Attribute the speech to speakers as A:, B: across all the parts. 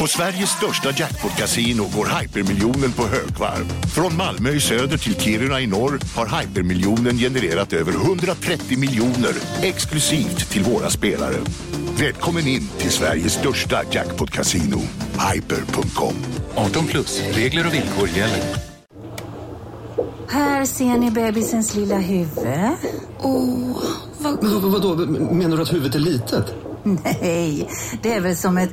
A: På Sveriges största jackpot-kasino går hypermiljonen på högvarv. Från Malmö i söder till Kiruna i norr har hypermiljonen genererat över 130 miljoner exklusivt till våra spelare. Välkommen in till Sveriges största jackpot-kasino, hyper.com.
B: 18 plus, regler och villkor gäller.
C: Här ser ni bebisens lilla huvud.
D: Åh, oh, vad... Men, vadå, menar du att huvudet är litet?
C: Nej, det är väl som ett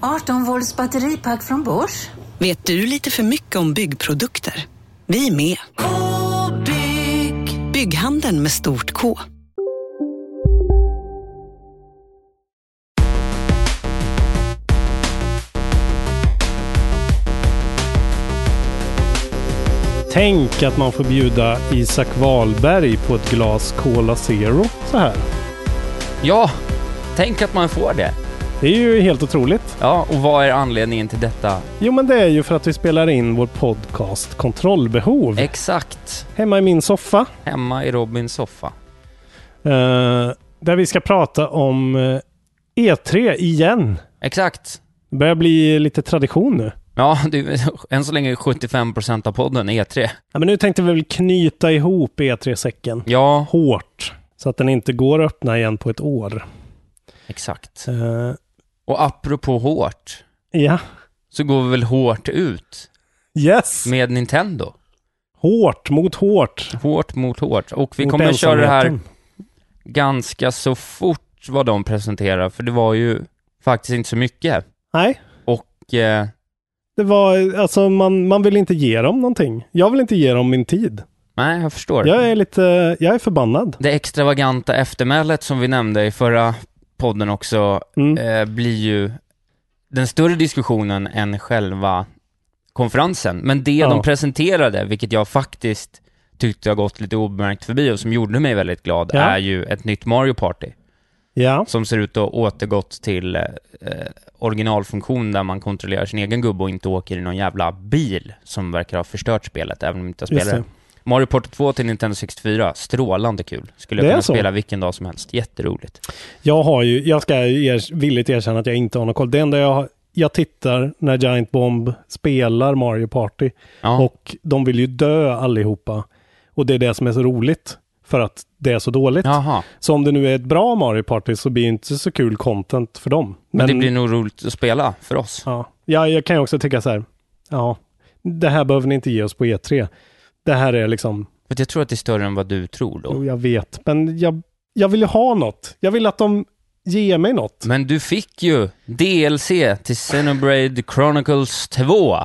C: 18 volts batteripack från Bors.
E: Vet du lite för mycket om byggprodukter? Vi är med. -bygg. Bygghandeln med stort K.
F: Tänk att man får bjuda Isak Wahlberg på ett glas Cola Zero så här.
G: Ja, Tänk att man får det.
F: Det är ju helt otroligt.
G: Ja, och vad är anledningen till detta?
F: Jo, men det är ju för att vi spelar in vår podcast Kontrollbehov.
G: Exakt.
F: Hemma i min soffa.
G: Hemma i Robins soffa.
F: Uh, där vi ska prata om uh, E3 igen.
G: Exakt.
F: Det börjar bli lite tradition nu.
G: Ja, du, än så länge är 75% av podden E3.
F: Ja, men nu tänkte vi väl knyta ihop E3-säcken.
G: Ja.
F: Hårt. Så att den inte går att öppna igen på ett år.
G: Exakt. Uh, och apropå hårt.
F: Ja.
G: Så går vi väl hårt ut?
F: Yes.
G: Med Nintendo.
F: Hårt mot hårt.
G: Hårt mot hårt. Och vi mot kommer köra det här ganska så fort vad de presenterar, för det var ju faktiskt inte så mycket.
F: Nej.
G: Och... Eh,
F: det var, alltså man, man vill inte ge dem någonting. Jag vill inte ge dem min tid.
G: Nej, jag förstår.
F: Jag är lite, jag är förbannad.
G: Det extravaganta eftermälet som vi nämnde i förra podden också mm. eh, blir ju den större diskussionen än själva konferensen. Men det ja. de presenterade, vilket jag faktiskt tyckte har gått lite obemärkt förbi och som gjorde mig väldigt glad, ja. är ju ett nytt Mario Party.
F: Ja.
G: Som ser ut att ha återgått till eh, originalfunktion där man kontrollerar sin egen gubbe och inte åker i någon jävla bil som verkar ha förstört spelet, även om de inte har spelat det. Mario Party 2 till Nintendo 64, strålande kul. Skulle jag kunna så. spela vilken dag som helst, jätteroligt.
F: Jag har ju, jag ska er, villigt erkänna att jag inte har någon koll. Det enda jag, jag tittar när Giant Bomb spelar Mario Party ja. och de vill ju dö allihopa. Och det är det som är så roligt, för att det är så dåligt.
G: Jaha.
F: Så om det nu är ett bra Mario Party så blir det inte så kul content för dem.
G: Men, Men det blir nog roligt att spela för oss.
F: Ja, jag, jag kan ju också tycka så här, ja, det här behöver ni inte ge oss på E3 det här är liksom...
G: Men jag tror att det är större än vad du tror då.
F: Jo, jag vet. Men jag, jag vill ju ha något. Jag vill att de ger mig något.
G: Men du fick ju DLC till Xenoblade Chronicles 2.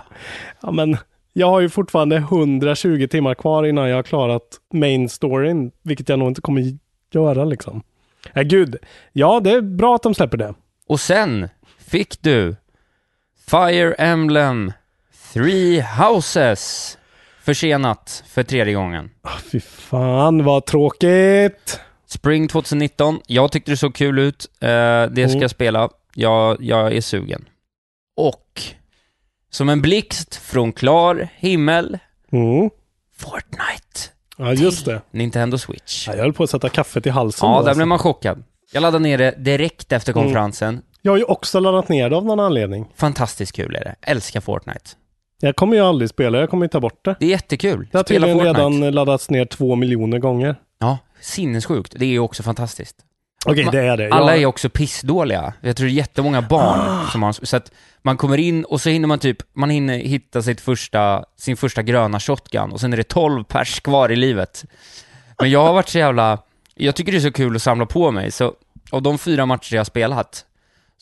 F: Ja, men jag har ju fortfarande 120 timmar kvar innan jag har klarat main storyn, vilket jag nog inte kommer göra liksom. Ja, gud. Ja, det är bra att de släpper det.
G: Och sen fick du Fire Emblem Three Houses försenat för tredje gången.
F: Oh, fy fan vad tråkigt!
G: Spring 2019. Jag tyckte det såg kul ut. Eh, det ska mm. jag spela. Jag, jag är sugen. Och som en blixt från klar himmel.
F: Mm.
G: Fortnite.
F: Ja, just det.
G: Nintendo Switch.
F: Ja, jag höll på att sätta kaffet i halsen.
G: Ja, där alltså. blev man chockad. Jag laddade ner det direkt efter konferensen. Mm.
F: Jag har ju också laddat ner det av någon anledning.
G: Fantastiskt kul är det. Älskar Fortnite.
F: Jag kommer ju aldrig spela, jag kommer ju ta bort det.
G: Det är jättekul.
F: Det har tydligen redan laddats ner två miljoner gånger.
G: Ja, sinnessjukt. Det är ju också fantastiskt.
F: Okej, okay, det är det. Jag...
G: Alla är också pissdåliga. Jag tror det är jättemånga barn ah. som har... Så att man kommer in och så hinner man typ, man hinner hitta sitt första, sin första gröna shotgun och sen är det 12 pers kvar i livet. Men jag har varit så jävla... Jag tycker det är så kul att samla på mig, så av de fyra matcher jag har spelat,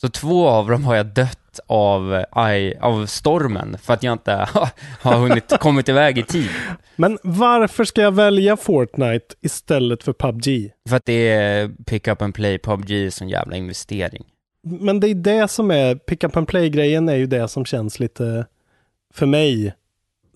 G: så två av dem har jag dött av, aj, av stormen för att jag inte har hunnit kommit iväg i tid.
F: Men varför ska jag välja Fortnite istället för PubG?
G: För att det är pick up and play, PubG är en jävla investering.
F: Men det är det som är, pick up and play-grejen är ju det som känns lite, för mig,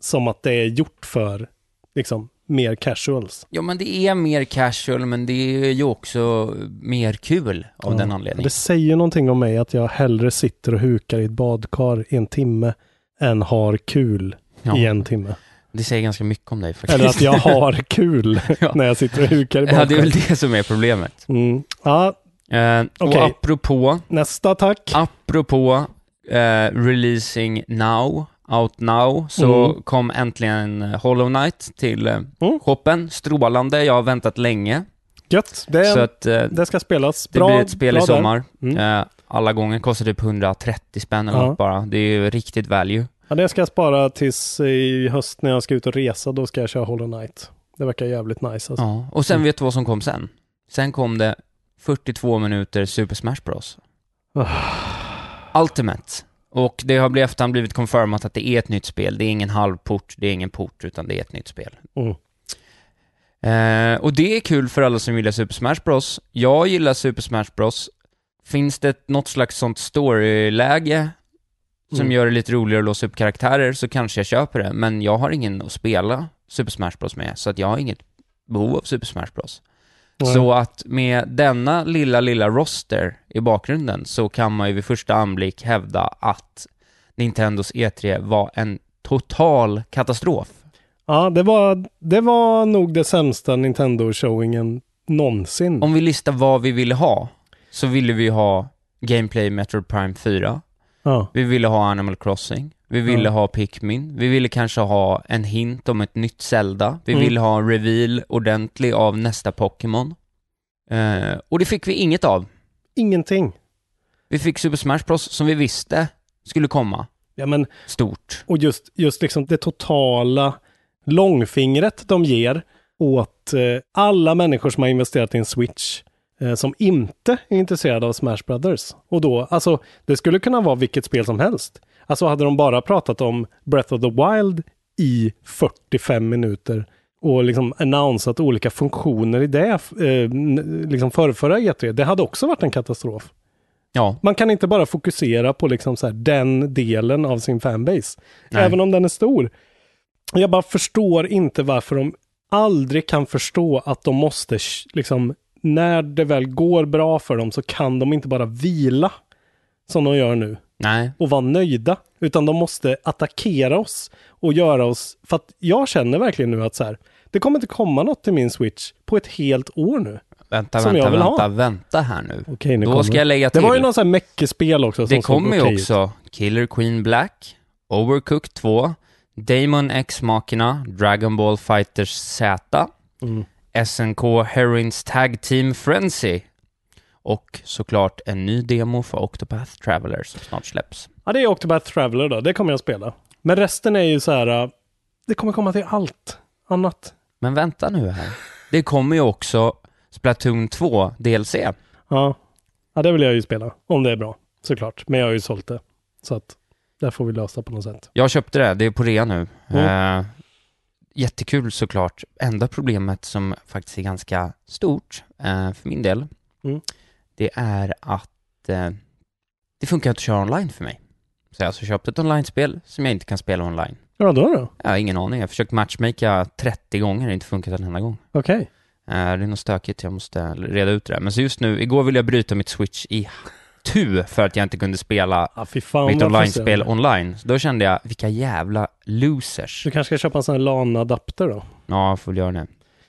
F: som att det är gjort för, liksom, mer casuals.
G: Ja, men det är mer casual, men det är ju också mer kul av
F: Ja.
G: den anledningen.
F: Det säger någonting om mig att jag hellre sitter och hukar i ett badkar i en timme än har kul
G: Ja.
F: i en timme.
G: Det säger ganska mycket om dig faktiskt.
F: Eller att jag har kul
G: Ja.
F: när jag sitter och hukar i badkar.
G: Ja, det är väl det som är problemet.
F: Mm. Ja,
G: Eh,
F: Okej.
G: Och apropå,
F: nästa tack.
G: apropå eh, releasing now, out now, så
F: Mm.
G: kom äntligen Hollow Knight till eh,
F: Mm.
G: shoppen, strålande. Jag har väntat länge.
F: Gött. Det,
G: Så att eh,
F: det ska spelas.
G: det
F: Bra,
G: blir ett spel i
F: bra där.
G: sommar.
F: Mm.
G: Eh, alla gånger kostar typ 130 spänn eller
F: Ja.
G: något bara. Det är ju riktigt value.
F: Ja, det ska jag spara tills i höst när jag ska ut och resa. Då ska jag köra Hollow Knight. Det verkar jävligt nice. Alltså.
G: Ja. Och sen
F: Mm.
G: vet du vad som kom sen? Sen kom det 42 minuter Super Smash Bros. Ultimate. Och det har blivit- efterhand blivit confirmat att det är ett nytt spel. Det är ingen halvport, det är ingen port, utan det är ett nytt spel.
F: Mm.
G: Eh, och det är kul för alla som gillar Super Smash Bros. Jag gillar Super Smash Bros. Finns det något slags sånt storyläge som
F: Mm.
G: gör det lite roligare att låsa upp karaktärer så kanske jag köper det. Men jag har ingen att spela Super Smash Bros med, så att jag har inget behov av Super Smash Bros.
F: Nej.
G: Så att med denna lilla, lilla roster i bakgrunden så kan man ju vid första anblick hävda att Nintendos E3 var en total katastrof.
F: Ja, det var, det var nog det sämsta Nintendo-showingen någonsin.
G: Om vi listar vad vi ville ha, så ville vi ha Gameplay Metroid Prime 4,
F: Ja.
G: vi ville ha Animal Crossing, vi ville
F: Ja.
G: ha Pikmin, vi ville kanske ha en hint om ett nytt Zelda, vi
F: Mm.
G: ville ha en reveal ordentlig av nästa Pokémon. Eh, och det fick vi inget av.
F: Ingenting.
G: Vi fick Super Smash Bros som vi visste skulle komma
F: Ja, men,
G: stort.
F: och just, just liksom det totala långfingret de ger åt eh, alla människor som har investerat i en Switch eh, som inte är intresserade av Smash Brothers. Och då, alltså, det skulle kunna vara vilket spel som helst. Alltså hade de bara pratat om Breath of the Wild i 45 minuter och liksom annonsat olika funktioner i det, eh, n- liksom förrförra E3, det hade också varit en katastrof.
G: Ja,
F: Man kan inte bara fokusera på liksom så här, den delen av sin fanbase,
G: Nej.
F: även om den är stor. Jag bara förstår inte varför de aldrig kan förstå att de måste, sh- liksom, när det väl går bra för dem så kan de inte bara vila som de gör nu
G: nej.
F: och vara nöjda, utan de måste attackera oss och göra oss, för att jag känner verkligen nu att så här, det kommer inte komma något till min switch på ett helt år nu.
G: Vänta,
F: Som
G: vänta,
F: jag vill ha.
G: vänta, vänta här nu.
F: Okej, nu
G: Då
F: kommer
G: ska jag lägga
F: Det
G: till.
F: var ju någon sån här meckespel också. som
G: det
F: såg
G: kommer ju
F: okej ut.
G: också Killer Queen Black, Overcooked 2, Damon X Machina, Dragon Ball Fighters Z,
F: Mm.
G: SNK Heroines Tag Team Frenzy och såklart en ny demo för Octopath Traveler som snart släpps.
F: Ja, det är Octopath Traveler då. Det kommer jag spela. Men resten är ju så här, äh, det kommer komma till allt annat.
G: Men vänta nu här. Det kommer ju också Splatoon 2 DLC.
F: Ja. ja, det vill jag ju spela. Om det är bra, såklart. Men jag har ju sålt det. Så att, där får vi lösa på något sätt. Mm.
G: Jag köpte det, det är på rea nu. Eh, jättekul såklart. Enda problemet som faktiskt är ganska stort eh, för min del,
F: Mm.
G: det är att eh, det funkar inte att köra online för mig. Så jag har alltså köpt ett online-spel som jag inte kan spela online.
F: Ja, då då?
G: Jag har ingen aning, jag har försökt matchmaka 30 gånger, det har inte funkat en enda gång.
F: Okej.
G: Eh, det är något stökigt, jag måste reda ut det där. Men så just nu, igår ville jag bryta mitt switch i tu för att jag inte kunde spela
F: Ja, fy fan
G: mitt
F: vad
G: online-spel
F: frustrerande.
G: online. Så då kände jag, vilka jävla losers.
F: Du kanske ska köpa en sån här LAN-adapter då?
G: Ja, jag får väl göra det.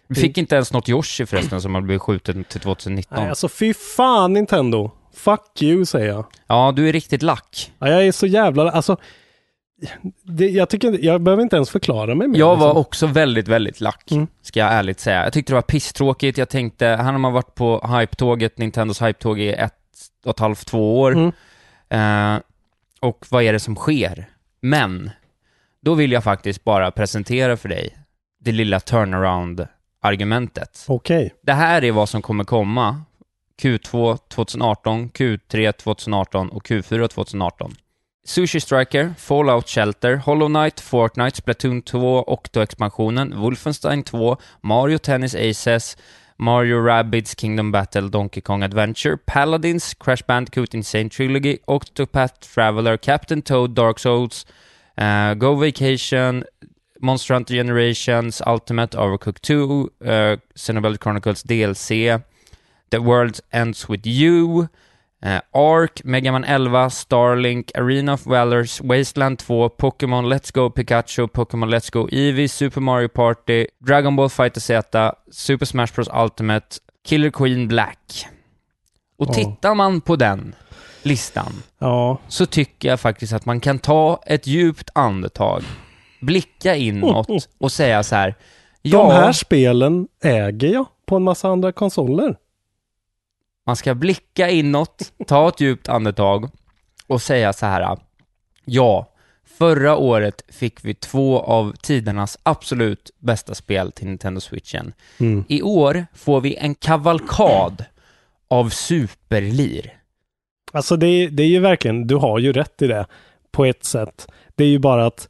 G: Vi fick inte ens något Yoshi förresten som hade blivit skjuten till 2019.
F: Nej, alltså fy fan Nintendo. Fuck you säger jag.
G: Ja, du är riktigt lack.
F: Ja, jag är så jävla, alltså. Det, jag, tycker, jag behöver inte ens förklara mig mer.
G: Jag var
F: liksom.
G: också väldigt, väldigt lack,
F: Mm.
G: ska jag ärligt säga. Jag tyckte det var pisstråkigt. Jag tänkte, här har man varit på hype-tåget, Nintendos hype-tåg i ett och ett halvt, två år.
F: Mm.
G: Eh, och vad är det som sker? Men, då vill jag faktiskt bara presentera för dig det lilla turnaround-argumentet.
F: Okej.
G: Det här är vad som kommer komma. Q2 2018, Q3 2018 och Q4 2018. Sushi Striker, Fallout Shelter, Hollow Knight, Fortnite, Splatoon 2, Octo-expansionen, Wolfenstein 2, Mario Tennis Aces, Mario Rabbids Kingdom Battle, Donkey Kong Adventure, Paladins, Crash Bandicoot Insane Trilogy, Octopath Traveler, Captain Toad, Dark Souls, eh, Go Vacation, Monster Hunter Generations, Ultimate Overcooked 2, eh, Xenoblade Chronicles DLC, The World Ends With You, eh, Ark, Mega Man 11, Starlink, Arena of Valors, Wasteland 2, Pokémon Let's Go Pikachu, Pokémon Let's Go Eevee, Super Mario Party, Dragon Ball Fighter Z, Super Smash Bros Ultimate, Killer Queen Black. Och
F: Ja.
G: tittar man på den listan
F: Ja.
G: så tycker jag faktiskt att man kan ta ett djupt andetag, blicka inåt och säga så här.
F: De här
G: Ja,
F: spelen äger jag på en massa andra konsoler.
G: man ska blicka inåt, ta ett djupt andetag och säga så här. Ja, förra året fick vi två av tidernas absolut bästa spel till Nintendo Switchen.
F: Mm.
G: I år får vi en kavalkad av superlir.
F: Alltså det är, det är ju verkligen, du har ju rätt i det på ett sätt. Det är ju bara att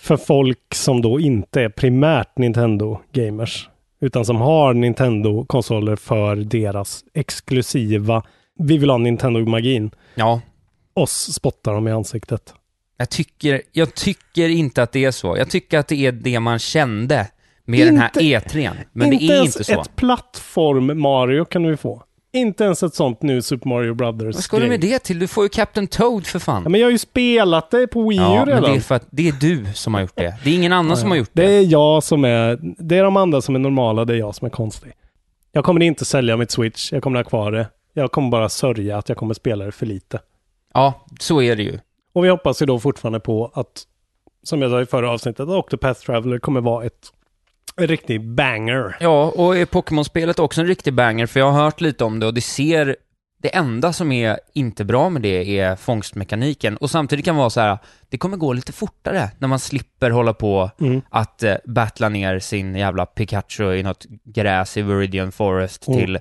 F: för folk som då inte är primärt Nintendo-gamers, utan som har Nintendo-konsoler för deras exklusiva, vi vill ha Nintendo-magin,
G: Ja,
F: oss spottar de i ansiktet.
G: jag tycker, jag tycker inte att det är så. Jag tycker att det är det man kände med den här
F: Inte-
G: E3. Men
F: inte
G: det är
F: ens
G: inte så.
F: ett plattform-Mario kan vi få. Inte ens ett sånt nu Super Mario Brothers
G: Vad ska du med det till? Du får ju Captain Toad för fan.
F: Ja, men jag har ju spelat det på Wii U
G: Ja, men
F: redan.
G: det är för att det är du som har gjort det. Det är ingen annan som har gjort
F: Det
G: det.
F: är jag som är, det är de andra som är normala, det är jag som är konstig. Jag kommer inte sälja mitt Switch, jag kommer ha kvar det. Jag kommer bara sörja att jag kommer spela det för lite.
G: Ja, så är det ju.
F: Och vi hoppas ju då fortfarande på att, som jag sa i förra avsnittet, att Octopath Traveler kommer vara ett, en riktig banger.
G: Ja, och är Pokémon-spelet också en riktig banger? För jag har hört lite om det och det ser... Det enda som är inte bra med det är fångstmekaniken. Och samtidigt kan vara så här, det kommer gå lite fortare när man slipper hålla på att eh, battla ner sin jävla Pikachu i något gräs i Viridian Forest
F: Mm.
G: till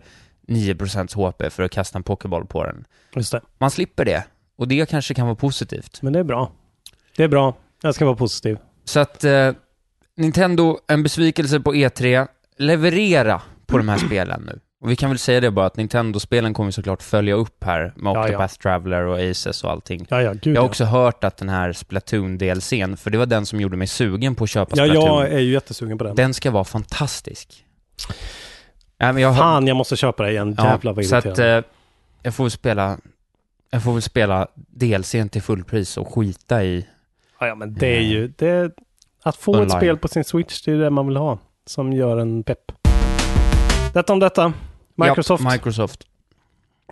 G: 9% HP för att kasta en Pokéboll på den.
F: Just det.
G: Man slipper det. Och det kanske kan vara positivt.
F: Men det är bra. Det är bra. Jag ska vara positiv.
G: Så att eh, Nintendo, en besvikelse på E3. Leverera på de här spelen nu. Och vi kan väl säga det bara att Nintendo-spelen kommer såklart följa upp här med
F: Ja, ja.
G: Octopath Traveler och Aces och allting.
F: Ja, ja, gud
G: Jag har
F: ja.
G: också hört att den här Splatoon-DLCn, för det var den som gjorde mig sugen på att köpa
F: Ja,
G: Splatoon.
F: jag är ju jättesugen på den.
G: Den ska vara fantastisk. Nej, men jag har-
F: Fan, jag måste köpa det igen. Jävlar vad
G: så att
F: irriterande.
G: eh, jag får väl spela jag får väl spela DLCn till fullpris och skita i...
F: Ja, ja, men det är ju... Det, att få ett
G: Online.
F: spel på sin Switch, det är det man vill ha. Som gör en pepp. Detta om detta. Microsoft.
G: Ja, Microsoft.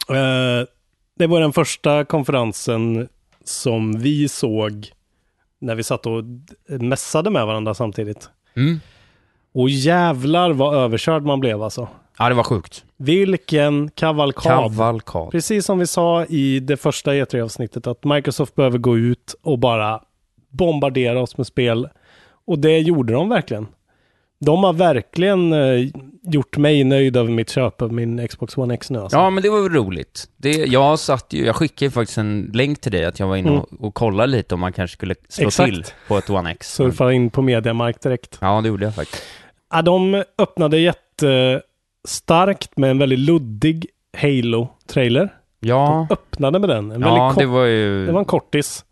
F: Eh, det var den första konferensen som vi såg när vi satt och d- mässade med varandra samtidigt.
G: Mm.
F: Och jävlar vad överkörd man blev alltså.
G: Ja, det var sjukt.
F: Vilken kavalkad.
G: Kavalkad.
F: Precis som vi sa i det första E3-avsnittet att Microsoft behöver gå ut och bara bombardera oss med spel. Och det gjorde de verkligen. De har verkligen eh, gjort mig nöjd över mitt köp av min Xbox One X nu. Alltså.
G: Ja, men det var väl roligt. Det, jag satt ju, jag skickade ju faktiskt en länk till dig att jag var inne och, och kollade lite om man kanske skulle slå
F: Mm. Exakt.
G: till på ett One X.
F: Surfa in på Mediamarkt direkt.
G: Ja, det gjorde jag faktiskt.
F: Ja, de öppnade jättestarkt med en väldigt luddig Halo-trailer.
G: Ja,
F: Öppnade med den. En
G: ja
F: väldigt
G: det
F: kort
G: var ju...
F: Det var en kortis.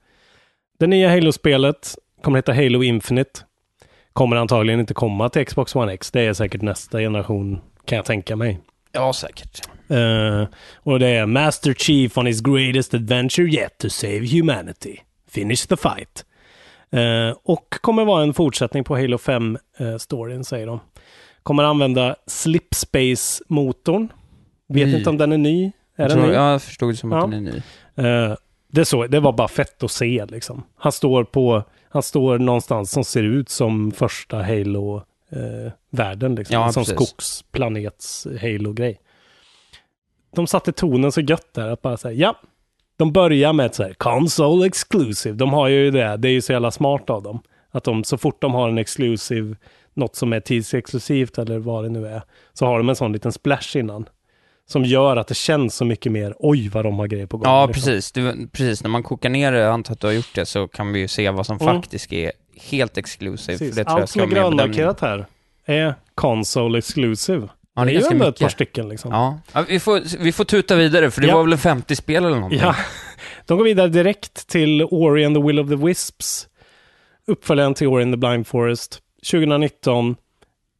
F: Det nya Halo-spelet kommer heta Halo Infinite. Kommer antagligen inte komma till Xbox One X. Det är säkert nästa generation, kan jag tänka mig.
G: Ja, säkert.
F: Eh, och det är Master Chief on his greatest adventure yet to save humanity. Finish the fight. Eh, och kommer vara en fortsättning på Halo 5-storyn, säger de. Kommer använda Slipspace-motorn. Vet
G: Ny.
F: inte om den är ny.
G: Mm. Jag,
F: Är den
G: tror,
F: ny?
G: jag förstod det som att
F: Ja.
G: den är ny.
F: Eh, det, så, det var bara fett att se liksom. Han står på, han står någonstans som ser ut som första Halo-världen liksom.
G: Ja,
F: som
G: precis.
F: skogsplanets Halo-grej. De satte tonen så gött där att bara säga ja. De börjar med ett så här console exclusive. De har ju det, det är ju så jävla smart av dem. Att de, så fort de har en exclusive, något som är tidsexklusivt eller vad det nu är, så har de en sån liten splash innan. Som gör att det känns så mycket mer, oj vad de har grejer på gång.
G: Ja,
F: liksom.
G: precis. Du, precis. När man kokar ner det, jag antar att du har gjort det, så kan vi ju se vad som
F: Mm.
G: faktiskt är helt exklusivt.
F: Precis.
G: För det tror jag
F: Allt som
G: ska
F: är
G: vara med i bedömningen.
F: grönmarkerat här är console exclusive.
G: Ja, det är
F: ju
G: ganska
F: ändå ett
G: mycket.
F: par stycken liksom.
G: Ja. Ja, vi, får, vi får tuta vidare, för det
F: Ja.
G: var väl en 50-spel eller någonting?
F: Ja. De går vidare direkt till Ori and the Will of the Wisps. Uppföljaren till Ori and the Blind Forest. 2019.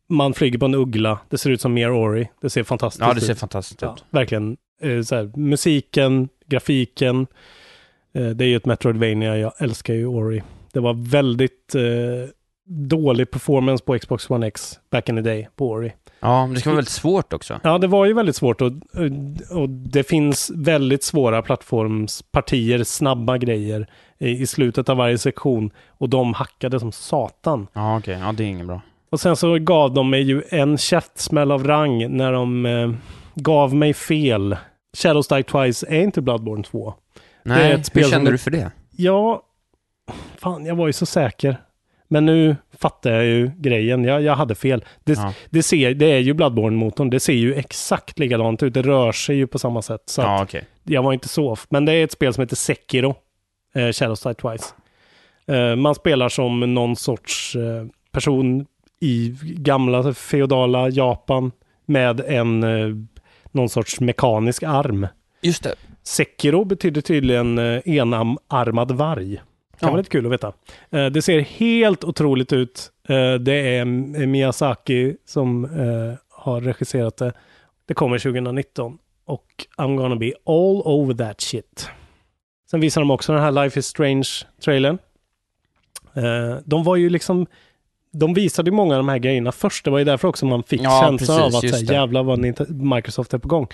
F: Man flyger på en uggla. Det ser ut som mer Ori. Det ser fantastiskt
G: Ja, det ser
F: ut.
G: fantastiskt ut.
F: Ja, verkligen. Eh, Så här, musiken, grafiken. Eh, Det är ju ett Metroidvania. Jag älskar ju Ori. Det var väldigt eh, dålig performance på Xbox One X back in the day på Ori.
G: Ja, men det ska vara väldigt svårt också.
F: Ja, det var ju väldigt svårt och, eh, och det finns väldigt svåra plattformspartier, snabba grejer i, i slutet av varje sektion och de hackade som satan.
G: Ja, okej. Ja, det är inget bra.
F: Och sen så gav de mig ju en käftsmäll av rang när de eh, gav mig fel. Shadows Die Twice är inte Bloodborne 2.
G: Nej,
F: ett spel
G: hur
F: som
G: kände
F: är-
G: du för det?
F: Ja, fan jag var ju så säker. Men nu fattar jag ju grejen. Jag, jag hade fel. Det,
G: Ja.
F: det, ser, det är ju Bloodborne-motorn. Det ser ju exakt likadant ut. Det rör sig ju på samma sätt. Så att
G: Ja, okej.
F: jag var inte så off. Men det är ett spel som heter Sekiro. Eh, Shadows Die Twice. Eh, man spelar som någon sorts eh, person i gamla feodala Japan med en, eh, någon sorts mekanisk arm.
G: Just det.
F: Sekiro betyder tydligen eh, enarmad varg. Kan
G: Ja.
F: vara lite kul att veta. Eh, Det ser helt otroligt ut. Eh, Det är M- Miyazaki som eh, har regisserat det. Det kommer 2019 och I'm gonna be all over that shit. Sen visar de också den här Life is Strange-trailern. Eh, De var ju liksom de visade ju många av de här grejerna först. Det var ju därför också man fick
G: Ja,
F: känslan
G: precis,
F: av att
G: just
F: säga,
G: det.
F: jävlar vad Nint- Microsoft är på gång.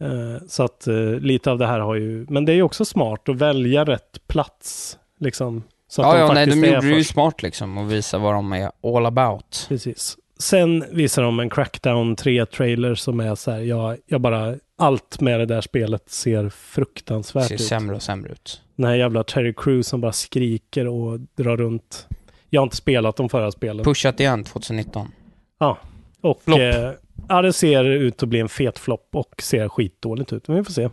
F: Eh, Så att eh, lite av det här har ju, men det är ju också smart att välja rätt plats. Liksom, så att
G: Ja,
F: de
G: ja, nej,
F: faktiskt
G: de
F: är
G: gjorde det ju
F: först.
G: smart liksom och visa vad de är all about.
F: Precis. Sen visar de en Crackdown 3-trailer som är så här, jag, jag bara, allt med det där spelet ser
G: Det
F: fruktansvärt
G: ser
F: ut.
G: sämre och sämre ut.
F: Den här jävla Terry Crews som bara skriker och drar runt. Jag har inte spelat de förra spelen.
G: Pushat igen 2019.
F: Ja, och
G: Flopp.
F: eh, ja, det ser ut att bli en fet flopp och ser skitdåligt ut. Men vi får se.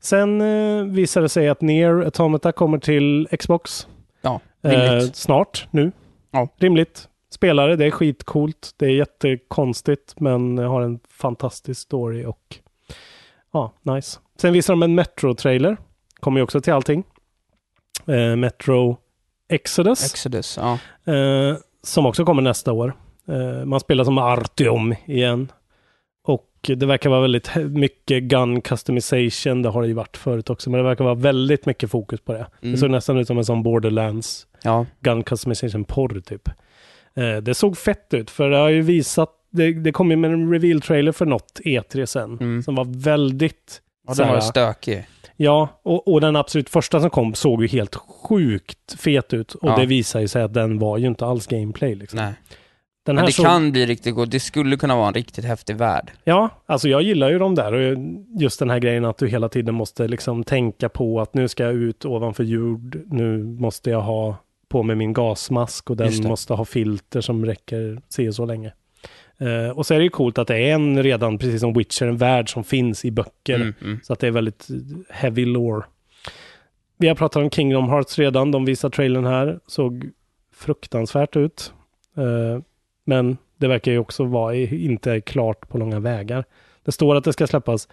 F: Sen eh, visar det sig att Nier Automata kommer till Xbox
G: Ja,
F: eh,
G: rimligt.
F: snart nu.
G: Ja.
F: Rimligt. Spelare, det är skitcoolt. Det är jättekonstigt men har en fantastisk story och ja, nice. Sen visar de en Metro-trailer. Kommer ju också till allting. Eh, Metro Exodus.
G: Exodus, ja.
F: Eh, som också kommer nästa år. Eh, man spelar som Artyom igen. Och det verkar vara väldigt he- mycket gun customization. Det har det ju varit förut också, men det verkar vara väldigt mycket fokus på det. Det
G: Mm.
F: såg nästan ut som en sån borderlands
G: Ja,
F: gun customization-porr typ. Eh, det såg fett ut, för det har ju visat, det, det kom ju med en reveal-trailer för något E3 sen,
G: Mm.
F: som var väldigt
G: ja
F: så
G: den
F: här-
G: var stökig.
F: Ja, och, och den absolut första som kom såg ju helt sjukt fet ut. Och
G: Ja.
F: det visar ju sig att den var ju inte alls gameplay. Liksom.
G: Nej.
F: Den
G: Men
F: här
G: det
F: såg,
G: kan bli riktigt gott. Det skulle kunna vara en riktigt häftig värld.
F: Ja, alltså jag gillar ju de där. Och jag- just den här grejen att du hela tiden måste liksom tänka på att nu ska jag ut ovanför jord. Nu måste jag ha på mig min gasmask och
G: Just
F: den
G: det.
F: måste ha filter som räcker se så länge. Eh, och så är det ju coolt att det är en redan, precis som Witcher, en värld som finns i böcker.
G: Mm, mm.
F: Så att det är väldigt heavy lore. Vi har pratat om Kingdom Hearts redan. De visar trailern här. Såg fruktansvärt ut. Eh, Men det verkar ju också vara i- inte klart på långa vägar. Det står att det ska släppas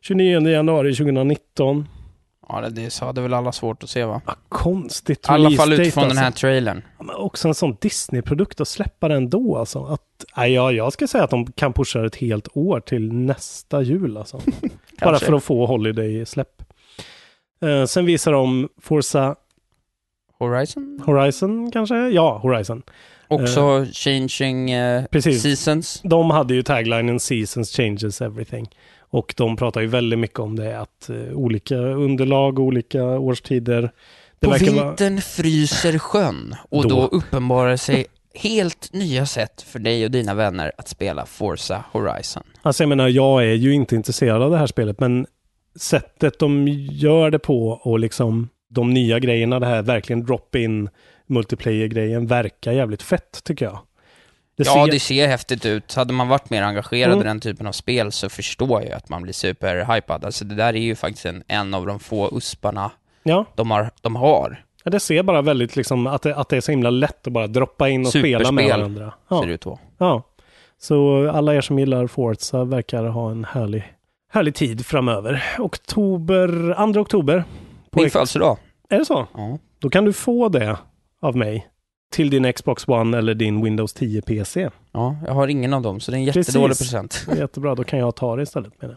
F: 29 januari 2019.
G: Ja, det, det hade väl alla svårt att se va?
F: Ah, konstigt
G: I alla fall
F: release date,
G: utifrån den här
F: alltså.
G: trailern.
F: Ja, men Också en sån Disney-produkt att släppa den då alltså. Att, nej, ja, jag ska säga att de kan pusha det ett helt år till nästa jul alltså. Bara
G: Kanske.
F: för att få Holiday-släpp. Eh, sen visar de Forza Eh.
G: Horizon?
F: Horizon kanske? Ja, Horizon.
G: Också changing eh,
F: Precis.
G: seasons.
F: De hade ju taglinen Seasons changes everything. Och de pratar ju väldigt mycket om det, att eh, olika underlag, olika årstider. Det
G: På
F: verkar vara-
G: vintern fryser sjön och då.
F: Då.
G: uppenbarar sig helt nya sätt för dig och dina vänner att spela Forza Horizon.
F: Alltså jag menar, jag är ju inte intresserad av det här spelet, men sättet de gör det på och liksom de nya grejerna, det här verkligen drop-in multiplayer-grejen verkar jävligt fett tycker jag. Det
G: ja,
F: ser-
G: det ser häftigt ut. Hade man varit mer engagerad i
F: Mm.
G: den typen av spel så förstår jag att man blir superhypad. Alltså det där är ju faktiskt en, en av de få usparna
F: ja,
G: de har. De har
F: ja, det ser bara väldigt liksom att det, att det är så himla lätt att bara droppa in och spela med
G: Superspel.
F: varandra. Ja.
G: ser det ut då.
F: Ja. Så alla er som gillar Forza verkar ha en härlig, härlig tid framöver. Oktober, 2 oktober. på
G: Min
F: X-
G: födelsedag.
F: Är det så?
G: Ja.
F: Då kan du få det av mig till din Xbox One eller din Windows 10 PC.
G: ja, jag har ingen av dem, så det är en jättedålig
F: Precis.
G: present.
F: Jättebra, då kan jag ta det istället med det.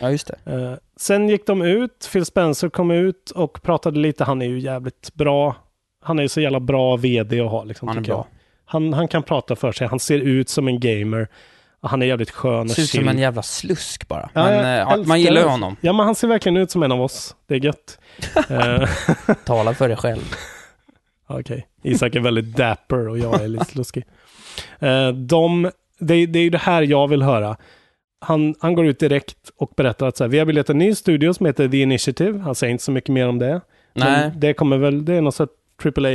G: Ja, just det.
F: Eh, sen gick de ut, Phil Spencer kom ut och pratade lite, han är ju jävligt bra. Han är ju så jävla bra vd att ha liksom,
G: Han är
F: tycker jag.
G: bra.
F: Han, han kan prata för sig, han ser ut som en gamer. Han är jävligt skön och
G: Ser ut som
F: chill.
G: en jävla slusk bara.
F: Ja,
G: Men,
F: jag
G: eh, ja,
F: älskar
G: man gillar ju
F: det.
G: honom.
F: Ja, men han ser verkligen ut som en av oss. Det är gött. Eh,
G: Tala för dig själv.
F: Okej. Isak är väldigt dapper och jag är lite sluskig. Eh, de, det, det är ju det här jag vill höra. Han, han går ut direkt och berättar att så här, vi har bildat en ny studio som heter The Initiative. Han säger inte så mycket mer om det.
G: Nej.
F: Men det kommer väl, det är någon sorts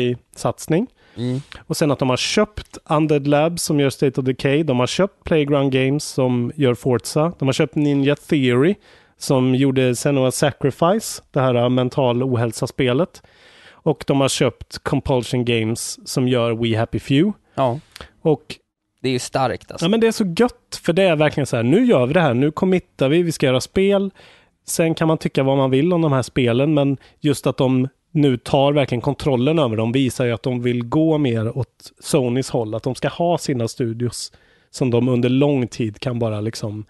F: AAA-satsning.
G: Mm.
F: Och sen att de har köpt Undead Labs som gör State of Decay. De har köpt Playground Games som gör Forza. De har köpt Ninja Theory som gjorde Senua Sacrifice, det här eh, mental ohälsa-spelet. Och de har köpt Compulsion Games som gör We Happy Few.
G: Ja,
F: Och
G: det är ju starkt alltså.
F: ja, men det är så gött, för det är verkligen så här, nu gör vi det här, nu committar vi, vi ska göra spel. Sen kan man tycka vad man vill om de här spelen, men just att de nu tar verkligen kontrollen över dem visar ju att de vill gå mer åt Sonys håll, att de ska ha sina studios som de under lång tid kan bara liksom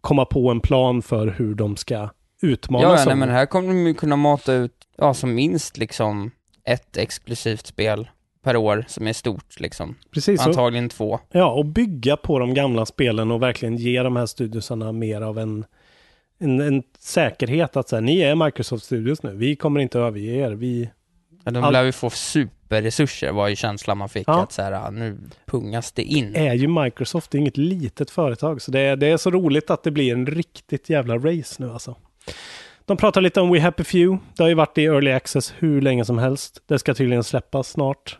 F: komma på en plan för hur de ska utmana
G: Ja, ja nej,
F: Sony.
G: men här kommer de ju kunna mata ut, ja, som minst liksom ett exklusivt spel per år som är stort liksom.
F: Precis, och-
G: Antagligen två.
F: Ja, och bygga på de gamla spelen och verkligen ge de här studiosarna mer av en, en, en säkerhet att så här, ni är Microsoft Studios nu, vi kommer inte överge er. Vi,
G: Ja,
F: Allt-
G: de lär ju få superresurser var ju känslan man fick
F: Ja.
G: att så här, ah, nu pungas det in.
F: är ju Microsoft, det är inget litet företag. Så det är, det är så roligt att det blir en riktigt jävla race nu alltså. De pratar lite om We Happy Few. Det har ju varit i Early Access hur länge som helst. Det ska tydligen släppas snart.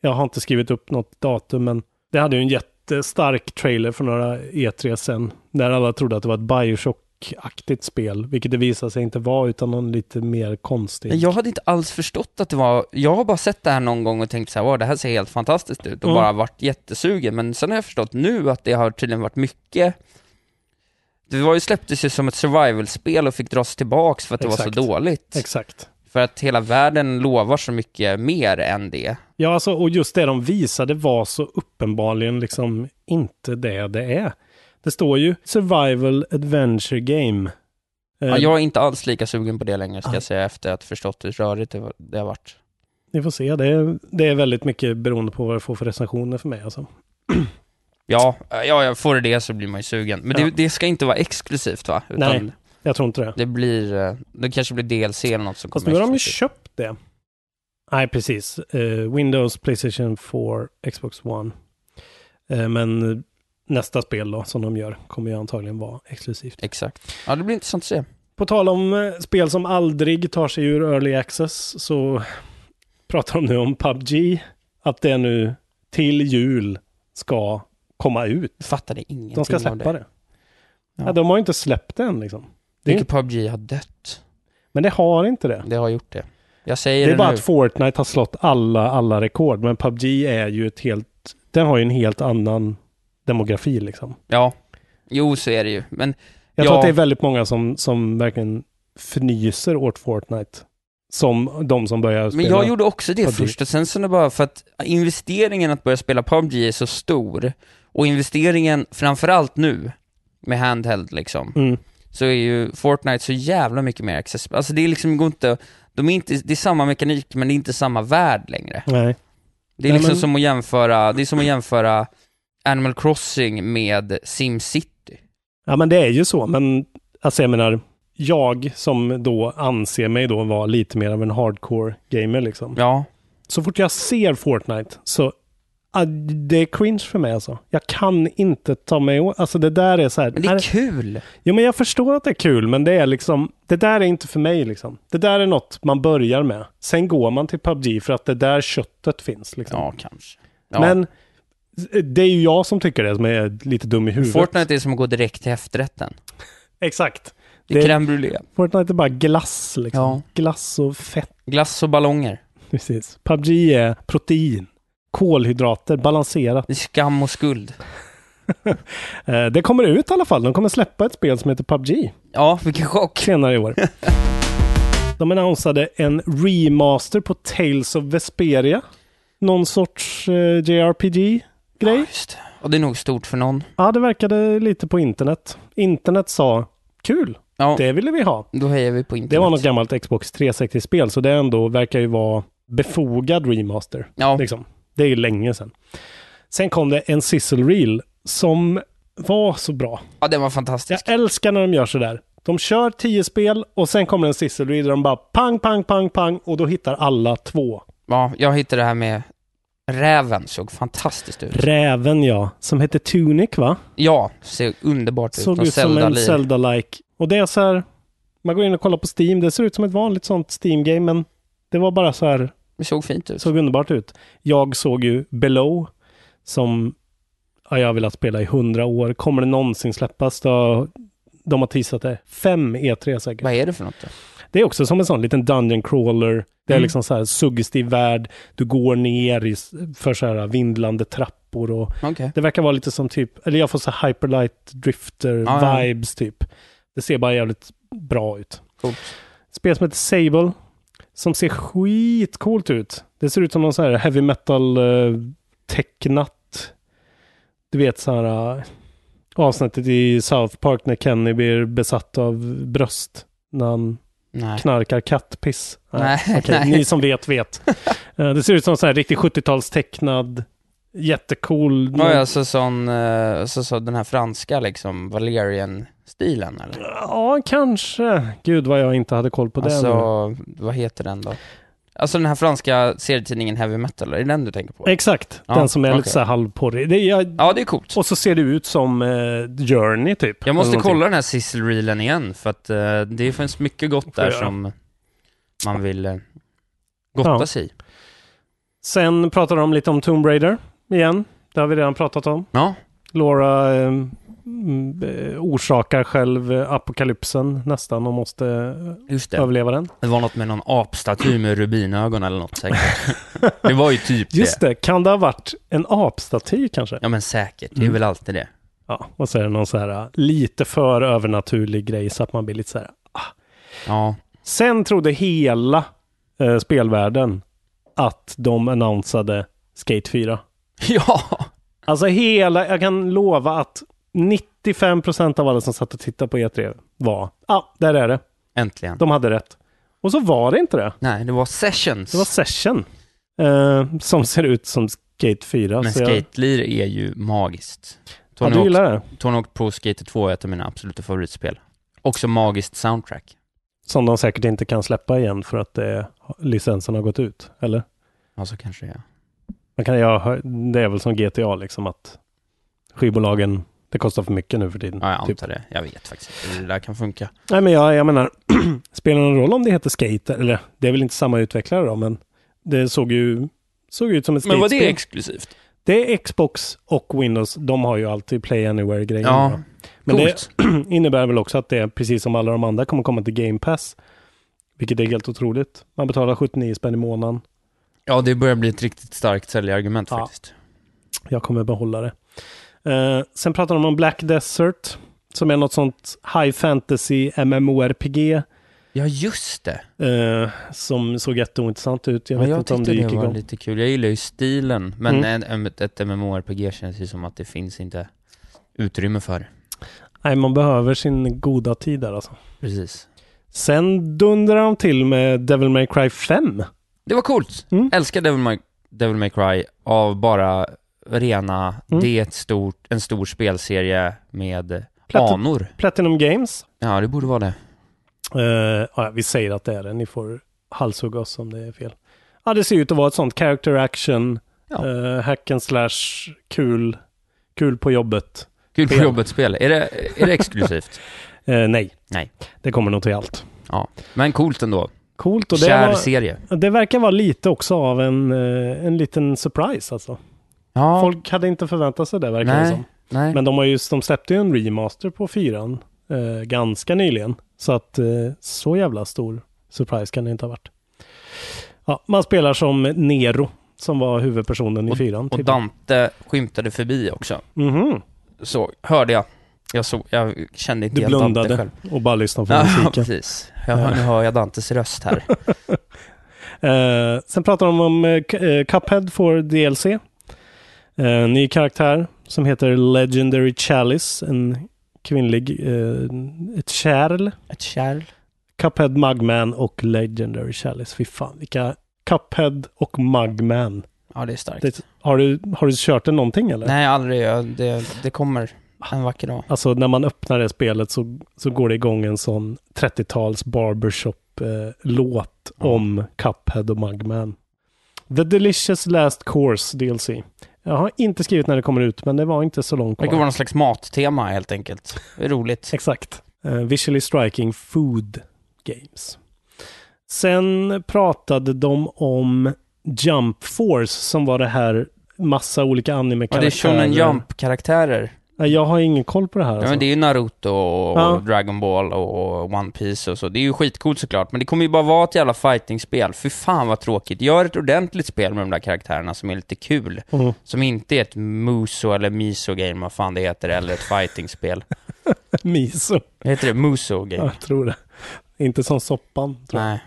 F: Jag har inte skrivit upp något datum, men det hade ju en jättestark trailer för några E3 sen. När alla trodde att det var ett Bioshock-aktigt spel, vilket det visade sig inte vara, utan någon lite mer konstig.
G: Men Jag hade inte alls förstått att det var, jag har bara sett det här någon gång och tänkt så här, "Wow, det här ser helt fantastiskt ut och
F: Mm.
G: bara varit jättesugen, men sen har jag förstått nu att det har tydligen varit mycket det var ju släpptes ju som ett survival-spel och fick dras tillbaks för att det var
F: Exakt.
G: så dåligt.
F: Exakt.
G: För att hela världen lovar så mycket mer än det.
F: Ja, alltså, och just det de visade var så uppenbarligen liksom inte det det är. Det står ju survival adventure game. Eh, Ah.
G: Ja, jag är inte alls lika sugen på det längre ska
F: Nej.
G: jag säga efter att förstått hur rörigt det, var, det har varit.
F: Ni får se, det är, det är väldigt mycket beroende på vad det får för recensioner för mig. Alltså.
G: Ja, eh, ja, jag får det det så blir man ju sugen. Men
F: Ja.
G: det, det ska inte vara exklusivt va? Utan
F: Nej. Jag tror inte det.
G: Det blir, eh, det kanske blir DLC eller något som
F: Fast
G: kommer
F: nu har de ju
G: exklusivt.
F: köpt det. Nej, precis. Eh, Windows, Playstation 4, Xbox One. Eh, men nästa spel då, som de gör kommer ju antagligen vara exklusivt.
G: Exakt. Ja, det blir intressant att se.
F: På tal om eh, spel som aldrig tar sig ur early access så pratar de nu om PubG. Att det nu till jul ska komma ut.
G: Jag fattade ingenting
F: De ska
G: av
F: släppa
G: det.
F: det.
G: Ja.
F: Ja. de har ju inte släppt det än liksom.
G: Jag tycker PubG har dött.
F: Men det har inte det.
G: Det har gjort det. Jag säger
F: Det
G: det,
F: är bara
G: nu.
F: att Fortnite har slått alla, alla rekord. Men PubG är ju ett helt... Den har ju en helt annan demografi liksom.
G: Ja. Jo, så är det ju. Men
F: Jag
G: Ja.
F: tror att det är väldigt många som, som verkligen fnyser åt Fortnite. Som de som börjar spela.
G: Men jag gjorde också det
F: PUBG.
G: först och sen så är det bara för att investeringen att börja spela PubG är så stor och investeringen framförallt nu med handheld liksom
F: Mm.
G: så är ju Fortnite så jävla mycket mer accessible. Alltså det är liksom går inte, de är inte, det är samma mekanik men det är inte samma värld längre.
F: Nej.
G: Det är
F: Nej,
G: liksom
F: men-
G: som att jämföra, det är som att jämföra Animal Crossing med SimCity.
F: Ja, men det är ju så. Men alltså, jag menar, jag som då anser mig då vara lite mer av en hardcore gamer liksom.
G: Ja,
F: Så fort jag ser Fortnite så ah, det är cringe för mig alltså. Jag kan inte ta mig åt. Alltså det där är så här.
G: men det är kul.
F: jo, men jag förstår att det är kul, men det är liksom. Det där är inte för mig liksom. Det där är något man börjar med. Sen går man till PubG för att det där köttet finns liksom.
G: Ja, kanske. Ja.
F: Men det är ju jag som tycker det som är lite dum i huvudet.
G: Fortnite är som att gå direkt till efterrätten.
F: Exakt.
G: Det är
F: Det-
G: crème brûlée.
F: Fortnite är bara glass liksom.
G: Ja.
F: Glass och fett.
G: Glass och ballonger.
F: Precis. PubG är protein, kolhydrater, balanserat.
G: Det är skam och skuld.
F: Eh, det kommer ut i alla fall. De kommer släppa ett spel som heter PubG.
G: Ja, vilken chock.
F: Senare i år. De annonsade en remaster på Tales of Vesperia. Någon sorts eh, JRPG-grej. Ja,
G: Just det. Och det är nog stort för någon.
F: det verkade lite på internet. Internet sa kul,
G: Ja,
F: det ville vi ha.
G: då hejar vi på internet.
F: Det var något gammalt Xbox 360-spel, så det ändå verkar ju vara befogad remaster.
G: Ja.
F: Liksom. Det är ju länge sedan. Sen kom det en sizzle reel som var så bra.
G: ja, den var
F: Jag
G: fantastisk.
F: älskar när de gör sådär. De kör tio spel och sen kommer en sizzle reel där de bara pang, pang, pang, pang och då hittar alla två.
G: Ja, jag hittade det här med räven. Såg fantastiskt ut.
F: Räven ja, som hette Tunic va?
G: Ja, ser underbart ut.
F: Såg
G: Någon
F: ut som en
G: Zelda-lir.
F: Zelda-like. Och det är så här, man går in och kollar på Steam, det ser ut som ett vanligt sånt Steam-game men det var bara så här,
G: Det såg fint ut.
F: såg underbart ut. Jag såg ju Below som ja, jag har velat spela i hundra år. Kommer det någonsin släppas? Då, de har teasat det. Fem E3 säkert.
G: Vad är det för något då?
F: Det är också som en sån liten dungeon crawler. Det är
G: Mm.
F: liksom så här suggestiv värld. Du går ner i, s- för så här vindlande trappor och
G: Okej.
F: det verkar vara lite som typ, eller jag får så här hyperlight drifter
G: Ja, ja.
F: vibes typ. Det ser bara jävligt bra ut.
G: Coolt.
F: Spel som heter Sable, som ser skitcoolt ut. Det ser ut som någon så här heavy metal eh, tecknat, du vet så här eh, avsnittet i South Park när Kenny blir besatt av bröst. När han
G: Nej.
F: knarkar kattpiss.
G: Nej,
F: okej,
G: nej.
F: Ni som vet, vet. Eh, Det ser ut som så här riktigt 70-talstecknad, jättecool.
G: Ja, ja, så sån, eh, så, så den här franska liksom, Valerian-stilen eller?
F: Ja, kanske. Gud vad jag inte hade koll på det. nu.
G: alltså, vad heter den då? Alltså den här franska serietidningen Heavy Metal, är det den du tänker på?
F: Exakt,
G: Ja,
F: den som är lite
G: okej.
F: så här halvporrig. Det är, jag,
G: Ja, det är coolt.
F: och så ser det ut som eh, Journey typ.
G: Jag måste
F: Eller
G: kolla
F: någonting.
G: den här sizzle reelen igen, för att eh, det finns mycket gott
F: Får
G: där
F: jag göra.
G: som man vill eh, gotta
F: Ja.
G: sig i.
F: Sen pratar de lite om Tomb Raider igen. Det har vi redan pratat om.
G: Ja,
F: Laura eh, mm, eh, orsakar själv eh, apokalypsen nästan och måste eh,
G: just det.
F: överleva den.
G: Det var något med någon apstaty med rubinögon eller något säkert. det var ju typ
F: Just
G: det.
F: det, kan det ha varit en apstaty kanske?
G: Ja men säkert, det är
F: Mm.
G: väl alltid det.
F: Ja, och så är det någon så här eh, lite för övernaturlig grej så att man blir lite så här.
G: Ja,
F: Sen trodde hela eh, spelvärlden att de annonsade Skate 4.
G: ja.
F: Alltså hela, jag kan lova att 95% av alla som satt och tittade på E3 var, ja, ah, där är det.
G: äntligen.
F: De hade rätt. Och så var det inte det.
G: Nej, det var sessions.
F: Det var Session. Eh, som ser ut som Skate 4.
G: men
F: så jag-
G: skatelir är ju magiskt.
F: ja,
G: Tony
F: du
G: Hawk
F: gillar det?
G: Tony Hawk Pro Skater 2 är ett av mina absoluta favoritspel. Också magiskt soundtrack.
F: Som de säkert inte kan släppa igen för att det, licensen har gått ut. Eller?
G: Ja, så Alltså, kanske det är.
F: Man kan, jag, hör- det är väl som GTA liksom att skivbolagen, det kostar för mycket nu för tiden.
G: Ja, jag
F: typ.
G: antar det. Jag vet faktiskt inte hur det där kan funka.
F: Nej, men jag, jag menar, spelar det någon roll om det heter Skate? Eller det är väl inte samma utvecklare då, men det såg ju såg ut som ett
G: Men var det
F: skatespel.
G: exklusivt?
F: Det är Xbox och Windows. De har ju alltid Play Anywhere-grejer.
G: Ja,
F: Men
G: coolt.
F: det innebär väl också att det, precis som alla de andra, kommer komma till Game Pass. Vilket är helt otroligt. Man betalar 79 spänn i månaden.
G: Ja, det börjar bli ett riktigt starkt säljargument
F: Ja.
G: faktiskt.
F: Jag kommer behålla det. Eh, sen pratar de om Black Desert, som är något sånt high fantasy MMORPG.
G: Ja, just det.
F: eh, som såg jätteointressant ut. Jag
G: Jag,
F: vet
G: jag
F: inte om
G: tyckte
F: det
G: det,
F: gick
G: var
F: igång.
G: lite kul. Jag gillar ju stilen, men
F: Mm.
G: en, ett, ett MMORPG känns ju som att det finns inte utrymme för.
F: Nej, man behöver sin goda tid där alltså.
G: Precis.
F: Sen dundrar de till med Devil May Cry 5.
G: Det var coolt.
F: Mm.
G: Älskar Devil May, Devil May Cry av bara rena,
F: Mm.
G: det är ett stort, en stor spelserie med
F: Platin-
G: anor.
F: Platinum Games.
G: Ja, det borde vara det.
F: Eh, ja, vi säger att det är det. Ni får halshugga oss om det är fel. Ja, det ser ut att vara ett sånt character action,
G: Ja.
F: eh, hack and slash, kul, kul på jobbet.
G: Kul på
F: Spel.
G: jobbet-spel. Är det, är det exklusivt?
F: Eh, nej.
G: Nej.
F: det kommer nog till allt.
G: ja. Men coolt ändå.
F: Coolt och det,
G: Kär
F: var,
G: serie.
F: det verkar vara lite också av en, eh, en liten surprise alltså.
G: Ja,
F: Folk hade inte förväntat sig det verkar det
G: nej,
F: som.
G: nej.
F: Men de, har ju, de släppte ju en remaster på fyran eh, ganska nyligen. Så att eh, så jävla stor surprise kan det inte ha varit. Ja, man spelar som Nero som var huvudpersonen i fyran.
G: och
F: typ.
G: Dante skymtade förbi också.
F: Mhm.
G: så hörde jag. Jag, såg, jag kände inte
F: Du
G: igen Dante
F: blundade
G: själv.
F: och bara lyssnade på
G: Ja,
F: musiken.
G: precis. Jag, hör- nu hör jag Dantes röst här.
F: Eh, sen pratar de om eh, Cu- eh, Cuphead får DLC. Eh, ny karaktär som heter Legendary Chalice. En kvinnlig... Eh, ett kärl.
G: Ett kärl.
F: Cuphead, Mugman och Legendary Chalice. Fy fan, vilka... Cuphead och Mugman.
G: Ja, det är starkt.
F: Det, har, du, har du kört det någonting eller?
G: Nej, aldrig. Jag, det, det kommer en vacker dag.
F: Alltså när man öppnar det spelet så, så går det igång en sån 30-tals barbershop-låt om Cuphead och Mugman. The Delicious Last Course DLC. Jag har inte skrivit när det kommer ut, men det var inte så långt
G: Det kan vara
F: kvar.
G: någon slags mattema helt enkelt. Det är roligt.
F: Exakt. Eh, visually Striking Food Games. Sen pratade de om Jump Force som var det här massa olika
G: Ja, det är
F: anime-karaktärer.
G: Shonen Jump-karaktärer.
F: Nej, Jag har ingen koll på det här.
G: Ja,
F: Alltså.
G: men det är ju Naruto och
F: Ja.
G: Dragon Ball och One Piece och så. Det är ju skitcoolt såklart, men det kommer ju bara vara ett jävla fighting-spel. Fy fan vad tråkigt. Gör ett ordentligt spel med de där karaktärerna som är lite kul.
F: Mm.
G: Som inte är ett Muso eller Miso-game, vad fan det heter, eller ett fighting-spel.
F: Miso.
G: Heter det
F: Ja,
G: Muso-game?
F: jag tror det. Inte som soppan. Tror jag.
G: Nej.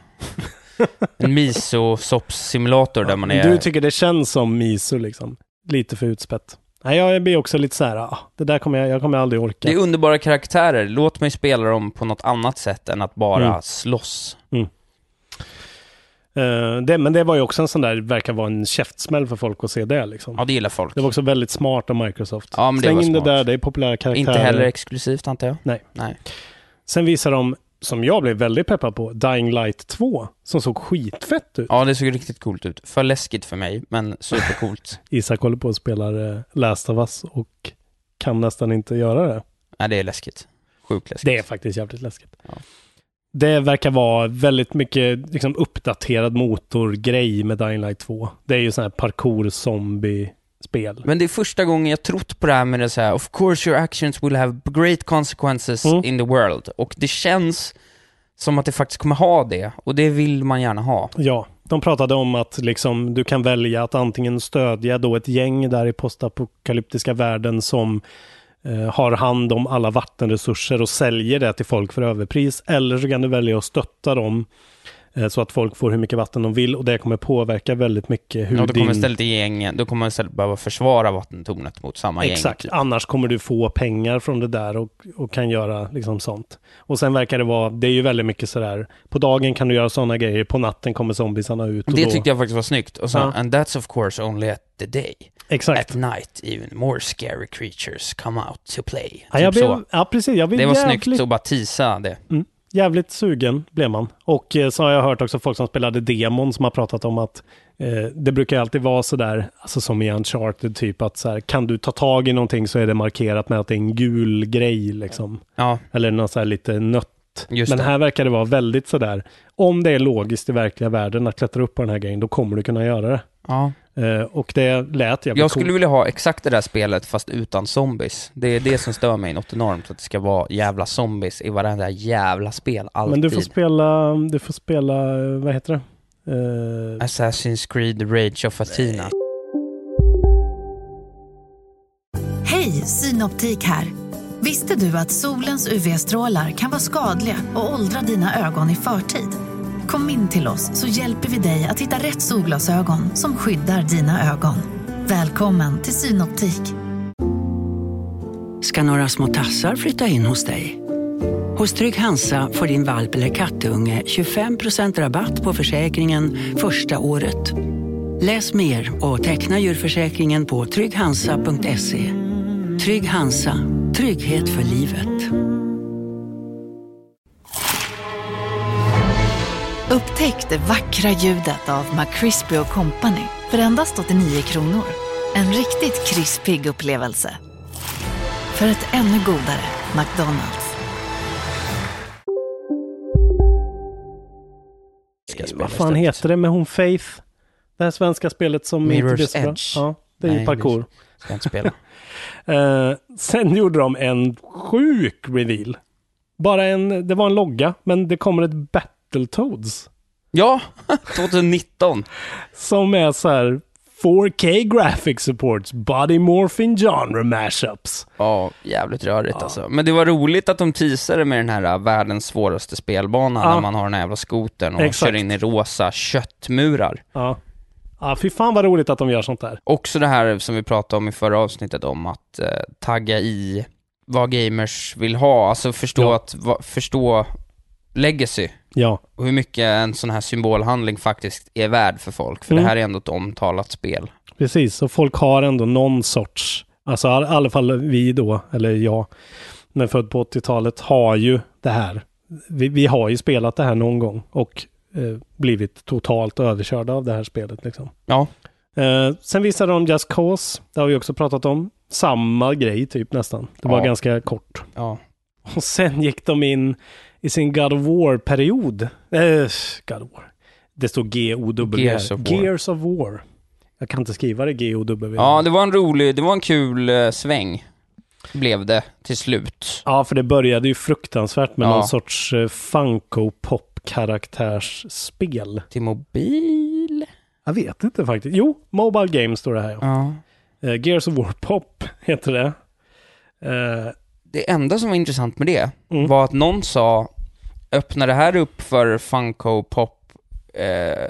G: En Miso-sops-simulator där man
F: Men
G: är...
F: Du tycker det känns som miso liksom. Lite för utspätt. Nej, jag blir också lite så här, ah, det där kommer jag, jag kommer aldrig orka.
G: Det är underbara karaktärer. Låt mig spela dem på något annat sätt än att bara
F: Mm.
G: slåss.
F: Eh, det, men det var ju också en sån där, verkar vara en käftsmäll för folk att se det liksom.
G: Ja, det gillar folk.
F: Det var också väldigt smart av Microsoft.
G: Ja, men det
F: Släng
G: var
F: in
G: smart.
F: det där, det är populära karaktärer.
G: Inte heller exklusivt, antar jag.
F: Nej.
G: Nej.
F: Sen visar de, som jag blev väldigt peppad på, Dying Light 2, som såg skitfett ut.
G: Ja, det såg riktigt coolt ut. För läskigt för mig, men supercoolt.
F: Isak håller på och spelar eh, Last of Us och kan nästan inte göra det.
G: Nej, det är läskigt. Sjukt läskigt.
F: Det är faktiskt jävligt läskigt. Det verkar vara väldigt mycket liksom, uppdaterad motorgrej med Dying Light 2. Det är ju sån här parkour-zombie-spel.
G: Men det är första gången jag trott på det här med det så här, of course your actions will have great consequences
F: Mm.
G: in the world. Och det känns som att det faktiskt kommer ha det, och det vill man gärna ha.
F: Ja, de pratade om att liksom, du kan välja att antingen stödja då ett gäng där i postapokalyptiska världen som eh, har hand om alla vattenresurser och säljer det till folk för överpris. Eller så kan du välja att stötta dem eh, så att folk får hur mycket vatten de vill och det kommer påverka väldigt mycket hur
G: Och då kommer
F: din
G: istället gängen, då kommer man istället behöva försvara vattentornet mot samma gäng.
F: Exakt, annars kommer du få pengar från det där och, och kan göra liksom sånt. Och sen verkar det vara, det är ju väldigt mycket sådär, på dagen kan du göra sådana grejer, på natten kommer zombiesarna ut. Och
G: Det
F: då,
G: tyckte jag faktiskt var snyggt. Och sen,
F: Ja.
G: and that's of course only at the day.
F: Exakt.
G: At night even more scary creatures come out to play.
F: Ja, jag
G: Typ
F: blev,
G: så.
F: ja, precis. Jag blev
G: Det var
F: jävligt, mm,
G: snyggt att bara tisa det.
F: jävligt sugen, blev man. Och eh, så har jag hört också folk som spelade demon som har pratat om att eh, det brukar ju alltid vara sådär, alltså som i Uncharted, typ att så här, kan du ta tag i någonting så är det markerat med att det är en gul grej liksom.
G: Ja,
F: Eller någon så här lite nött.
G: Just
F: Men
G: det.
F: här verkar det vara väldigt sådär, om det är logiskt i verkliga världen att klättra upp på den här grejen, då kommer du kunna göra det.
G: ja.
F: Eh, och det lät jävligt
G: Jag skulle
F: coolt.
G: vilja ha exakt det där spelet fast utan zombies. Det är det som stör mig något enormt, att det ska vara jävla zombies i varenda jävla spel, alltid.
F: Men du får spela, du får spela, eh, vad heter det? Eh,
G: Assassin's Creed Rage of Athena.
C: Hej, Synoptik här. Visste du att solens UV-strålar kan vara skadliga och åldra dina ögon i förtid? Kom in till oss så hjälper vi dig att hitta rätt solglasögon som skyddar dina ögon. Välkommen till Synoptik.
H: ska några små tassar flytta in hos dig. Hos Trygg Hansa får din valp eller kattunge 25% rabatt på försäkringen första året. Läs mer och teckna djurförsäkringen på trygghansa.se. Trygg Hansa, trygghet för livet.
I: Upptäck det vackra ljudet av McCrispy Company för endast 89 kronor. En riktigt krispig upplevelse. För ett ännu godare McDonalds.
F: Vad fan heter det med hon Faith? Det här svenska spelet som inte blev
G: Mirror's
F: så bra.
G: Edge.
F: Ja, det är
G: Nej,
F: ju parkour.
G: det Ska jag inte spela.
F: Eh, sen gjorde de en sjuk reveal. Bara en, det var en logga, men det kommer ett Battletoads.
G: Ja, 2019.
F: Som är så här 4K graphic supports body morphing genre mashups.
G: Ja, jävligt rörigt alltså. Men det var roligt att de teasade med den här ä, världens svåraste spelbana
F: Ja.
G: när man har den här jävla skotern och
F: Exakt.
G: kör in i rosa köttmurar.
F: Ja. Ja, fy fan vad roligt att de gör sånt där.
G: Också det här som vi pratade om i förra avsnittet om att eh, tagga i vad gamers vill ha, alltså förstå,
F: Ja.
G: att, va, förstå legacy.
F: Ja.
G: Och hur mycket en sån här symbolhandling faktiskt är värd för folk, för
F: Mm.
G: det här är ändå ett omtalat spel.
F: Precis, så folk har ändå någon sorts, alltså i all- alla fall vi då, eller jag, när jag är född på 80-talet, har ju det här. Vi, vi har ju spelat det här någon gång och eh, blivit totalt överkörda av det här spelet. Liksom.
G: Ja.
F: Eh, sen visade de Just Cause, det har vi också pratat om. Samma grej typ nästan. Det var
G: Ja.
F: ganska kort.
G: Ja.
F: Och sen gick de in i sin God of War-period. Eh, God of War. Det står G-O-W.
G: Gears of War.
F: Gears of War. Jag kan inte skriva det G-O-W.
G: Ja, det var en rolig, det var en kul eh, sväng, blev det till slut.
F: Ja, för det började ju fruktansvärt med
G: Ja.
F: någon sorts eh, Funko-pop-karaktärsspel.
G: Till mobil?
F: Jag vet inte faktiskt. Jo, Mobile Games står det här.
G: Ja.
F: Eh, Gears of War Pop heter det. Eh,
G: Det enda som var intressant med det
F: Mm.
G: var att någon sa, öppnar det här upp för Funko Pop eh,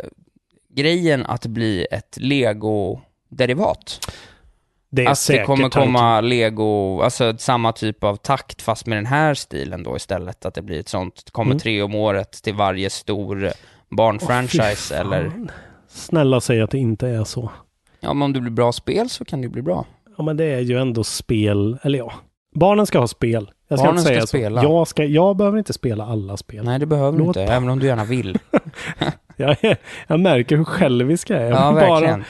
G: grejen att bli ett Lego-derivat?
F: Det är
G: att Alltså, det
F: säkert
G: kommer
F: tanken.
G: komma Lego, alltså samma typ av takt fast med den här stilen då istället, att det blir ett sånt, det kommer
F: Mm.
G: tre om året till varje stor eh, barnfranchise
F: Åh, fy
G: eller...
F: fan. Snälla säg att det inte är så.
G: Ja, men om det blir bra spel så kan det ju bli bra.
F: Ja, men det är ju ändå spel, eller ja. Barnen ska ha spel. Jag ska
G: Barnen
F: inte säga
G: ska
F: så.
G: spela.
F: Jag, ska, jag behöver inte spela alla spel.
G: Nej, det behöver du
F: Låt
G: inte, även om du gärna vill.
F: Jag, är- jag märker hur självisk jag är.
G: Ja, verkligen.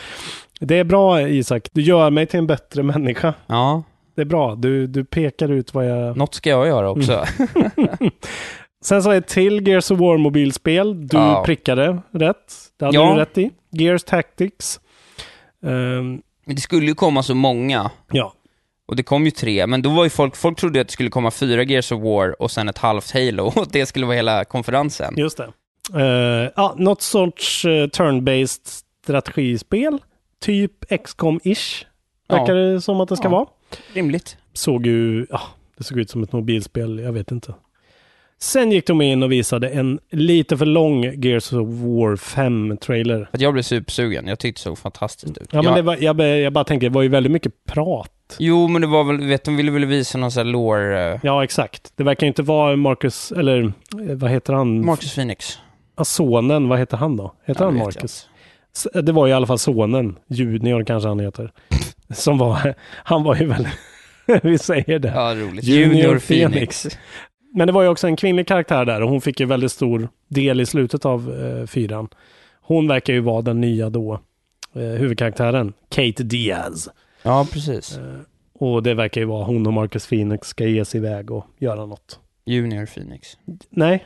F: det är bra Isak, du gör mig till en bättre människa.
G: Ja.
F: Det är bra, du, du pekar ut vad jag...
G: Något ska jag göra
F: Mm.
G: också.
F: Sen så är det till Gears of War mobilspel. Du
G: Ja.
F: prickade rätt. Det hade
G: Ja.
F: du rätt i. Gears Tactics. Ehm,
G: Men Det skulle ju komma så många.
F: Ja.
G: Och det kom ju tre, men då var ju folk, folk trodde att det skulle komma fyra Gears of War och sen ett halvt Halo, och det skulle vara hela konferensen.
F: Just det. Eh, ja, något sorts eh, turn-based strategispel. Typ xcom ish
G: Ja.
F: Verkar det som att det ska
G: Ja.
F: vara.
G: Rimligt.
F: Såg ju, ja, det såg ut som ett mobilspel, jag vet inte. Sen gick de in och visade en lite för lång Gears of War 5-trailer.
G: Att jag blev supersugen, jag tyckte det såg fantastiskt ut.
F: Ja, men
G: jag,
F: det var, jag, be- jag bara tänker, det var ju väldigt mycket prat.
G: Jo, men det var väl, vet de ville väl visa någon sån här lore... eh,
F: Ja, exakt. Det verkar ju inte vara Marcus, eller eh, vad heter han?
G: Marcus Phoenix.
F: Ja, sonen, vad heter han då? Heter
G: Jag
F: han
G: vet
F: Marcus? S- Det var i alla fall sonen, Junior kanske han heter. Som var, han var ju väl, vi säger det.
G: Ja, roligt. Junior Phoenix.
F: Men det var ju också en kvinnlig karaktär där och hon fick ju väldigt stor del i slutet av eh, fyran. Hon verkar ju vara den nya då, eh, huvudkaraktären, Kate Diaz.
G: Ja, precis.
F: Eh. Och det verkar ju vara hon och Marcus Phoenix ska ge sig iväg och göra något.
G: Junior Phoenix.
F: Nej,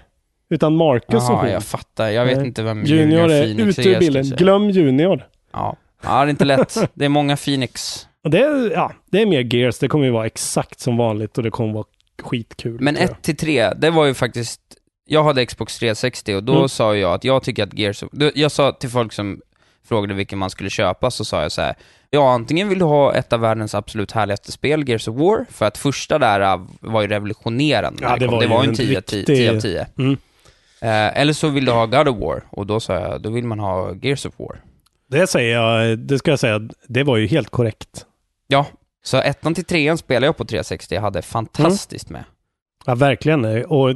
F: utan Marcus och
G: Jaha,
F: hon.
G: jag fattar. Jag vet
F: Nej.
G: inte vem
F: Eh, Junior,
G: Junior
F: är
G: Phoenix
F: ute
G: är,
F: ur
G: jag
F: bilden.
G: skulle säga.
F: Glöm Junior.
G: Ja. ja, det är inte lätt. Det är många Phoenix.
F: Och Det är, ja, det är mer Gears. Det kommer ju vara exakt som vanligt och det kommer vara skitkul.
G: Men
F: tror jag.
G: 1 till 3, det var ju faktiskt... Jag hade Xbox 360 och då
F: Mm.
G: sa jag att jag tycker att Gears of... då- Jag sa till folk som frågade vilken man skulle köpa, så sa jag så här. Ja, antingen vill du ha ett av världens absolut härligaste spel, Gears of War, för att första där äh, var ju revolutionerande. när
F: Ja, det
G: kom.
F: var
G: det
F: ju
G: var ju
F: en
G: en 10
F: riktig-
G: 10 av 10.
F: Mm.
G: Eh, eller så vill du ha God of War, och då sa jag, då vill man ha Gears of War.
F: Det säger jag, det ska jag säga, det var ju helt korrekt.
G: Ja, så ettan till trean spelade jag på 360, jag hade fantastiskt
F: Mm.
G: med.
F: Ja, verkligen. Och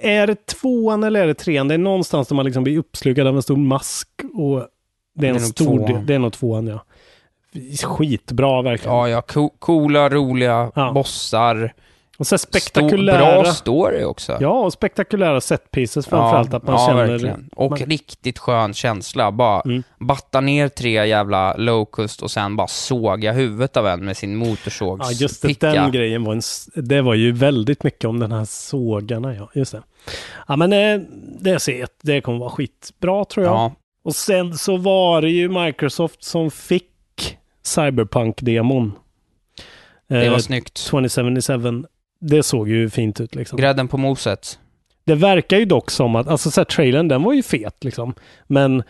F: är det tvåan eller är det trean? Det är någonstans där man liksom blir uppslukad av en stor mask och det är en
G: Det är nog
F: stor...
G: tvåan.
F: Det är nog tvåan, ja. Skitbra verkligen.
G: Ja, ja, co- coola, roliga bossar.
F: Och så
G: Stor,
F: spektakulära-
G: bra story också.
F: Ja, och spektakulära setpieces framförallt. att man
G: ja,
F: känner...
G: verkligen. Och
F: man, Mm.
G: riktigt skön känsla. Bara batta ner tre jävla locust och sen bara såga huvudet av en med sin motorsågs
F: ja, just det. Den grejen var en... s- Det var ju väldigt mycket om den här sågarna, ja. Just det. Ja, men eh, det ser jag. Det kommer vara skitbra, tror jag.
G: Ja.
F: Och sen så var det ju Microsoft som fick Cyberpunk-demon.
G: Det var
F: Eh,
G: snyggt.
F: 2077. Det såg ju fint ut liksom.
G: Grädden på moset.
F: Det verkar ju dock som att, alltså så här, trailern den var ju fet liksom. Men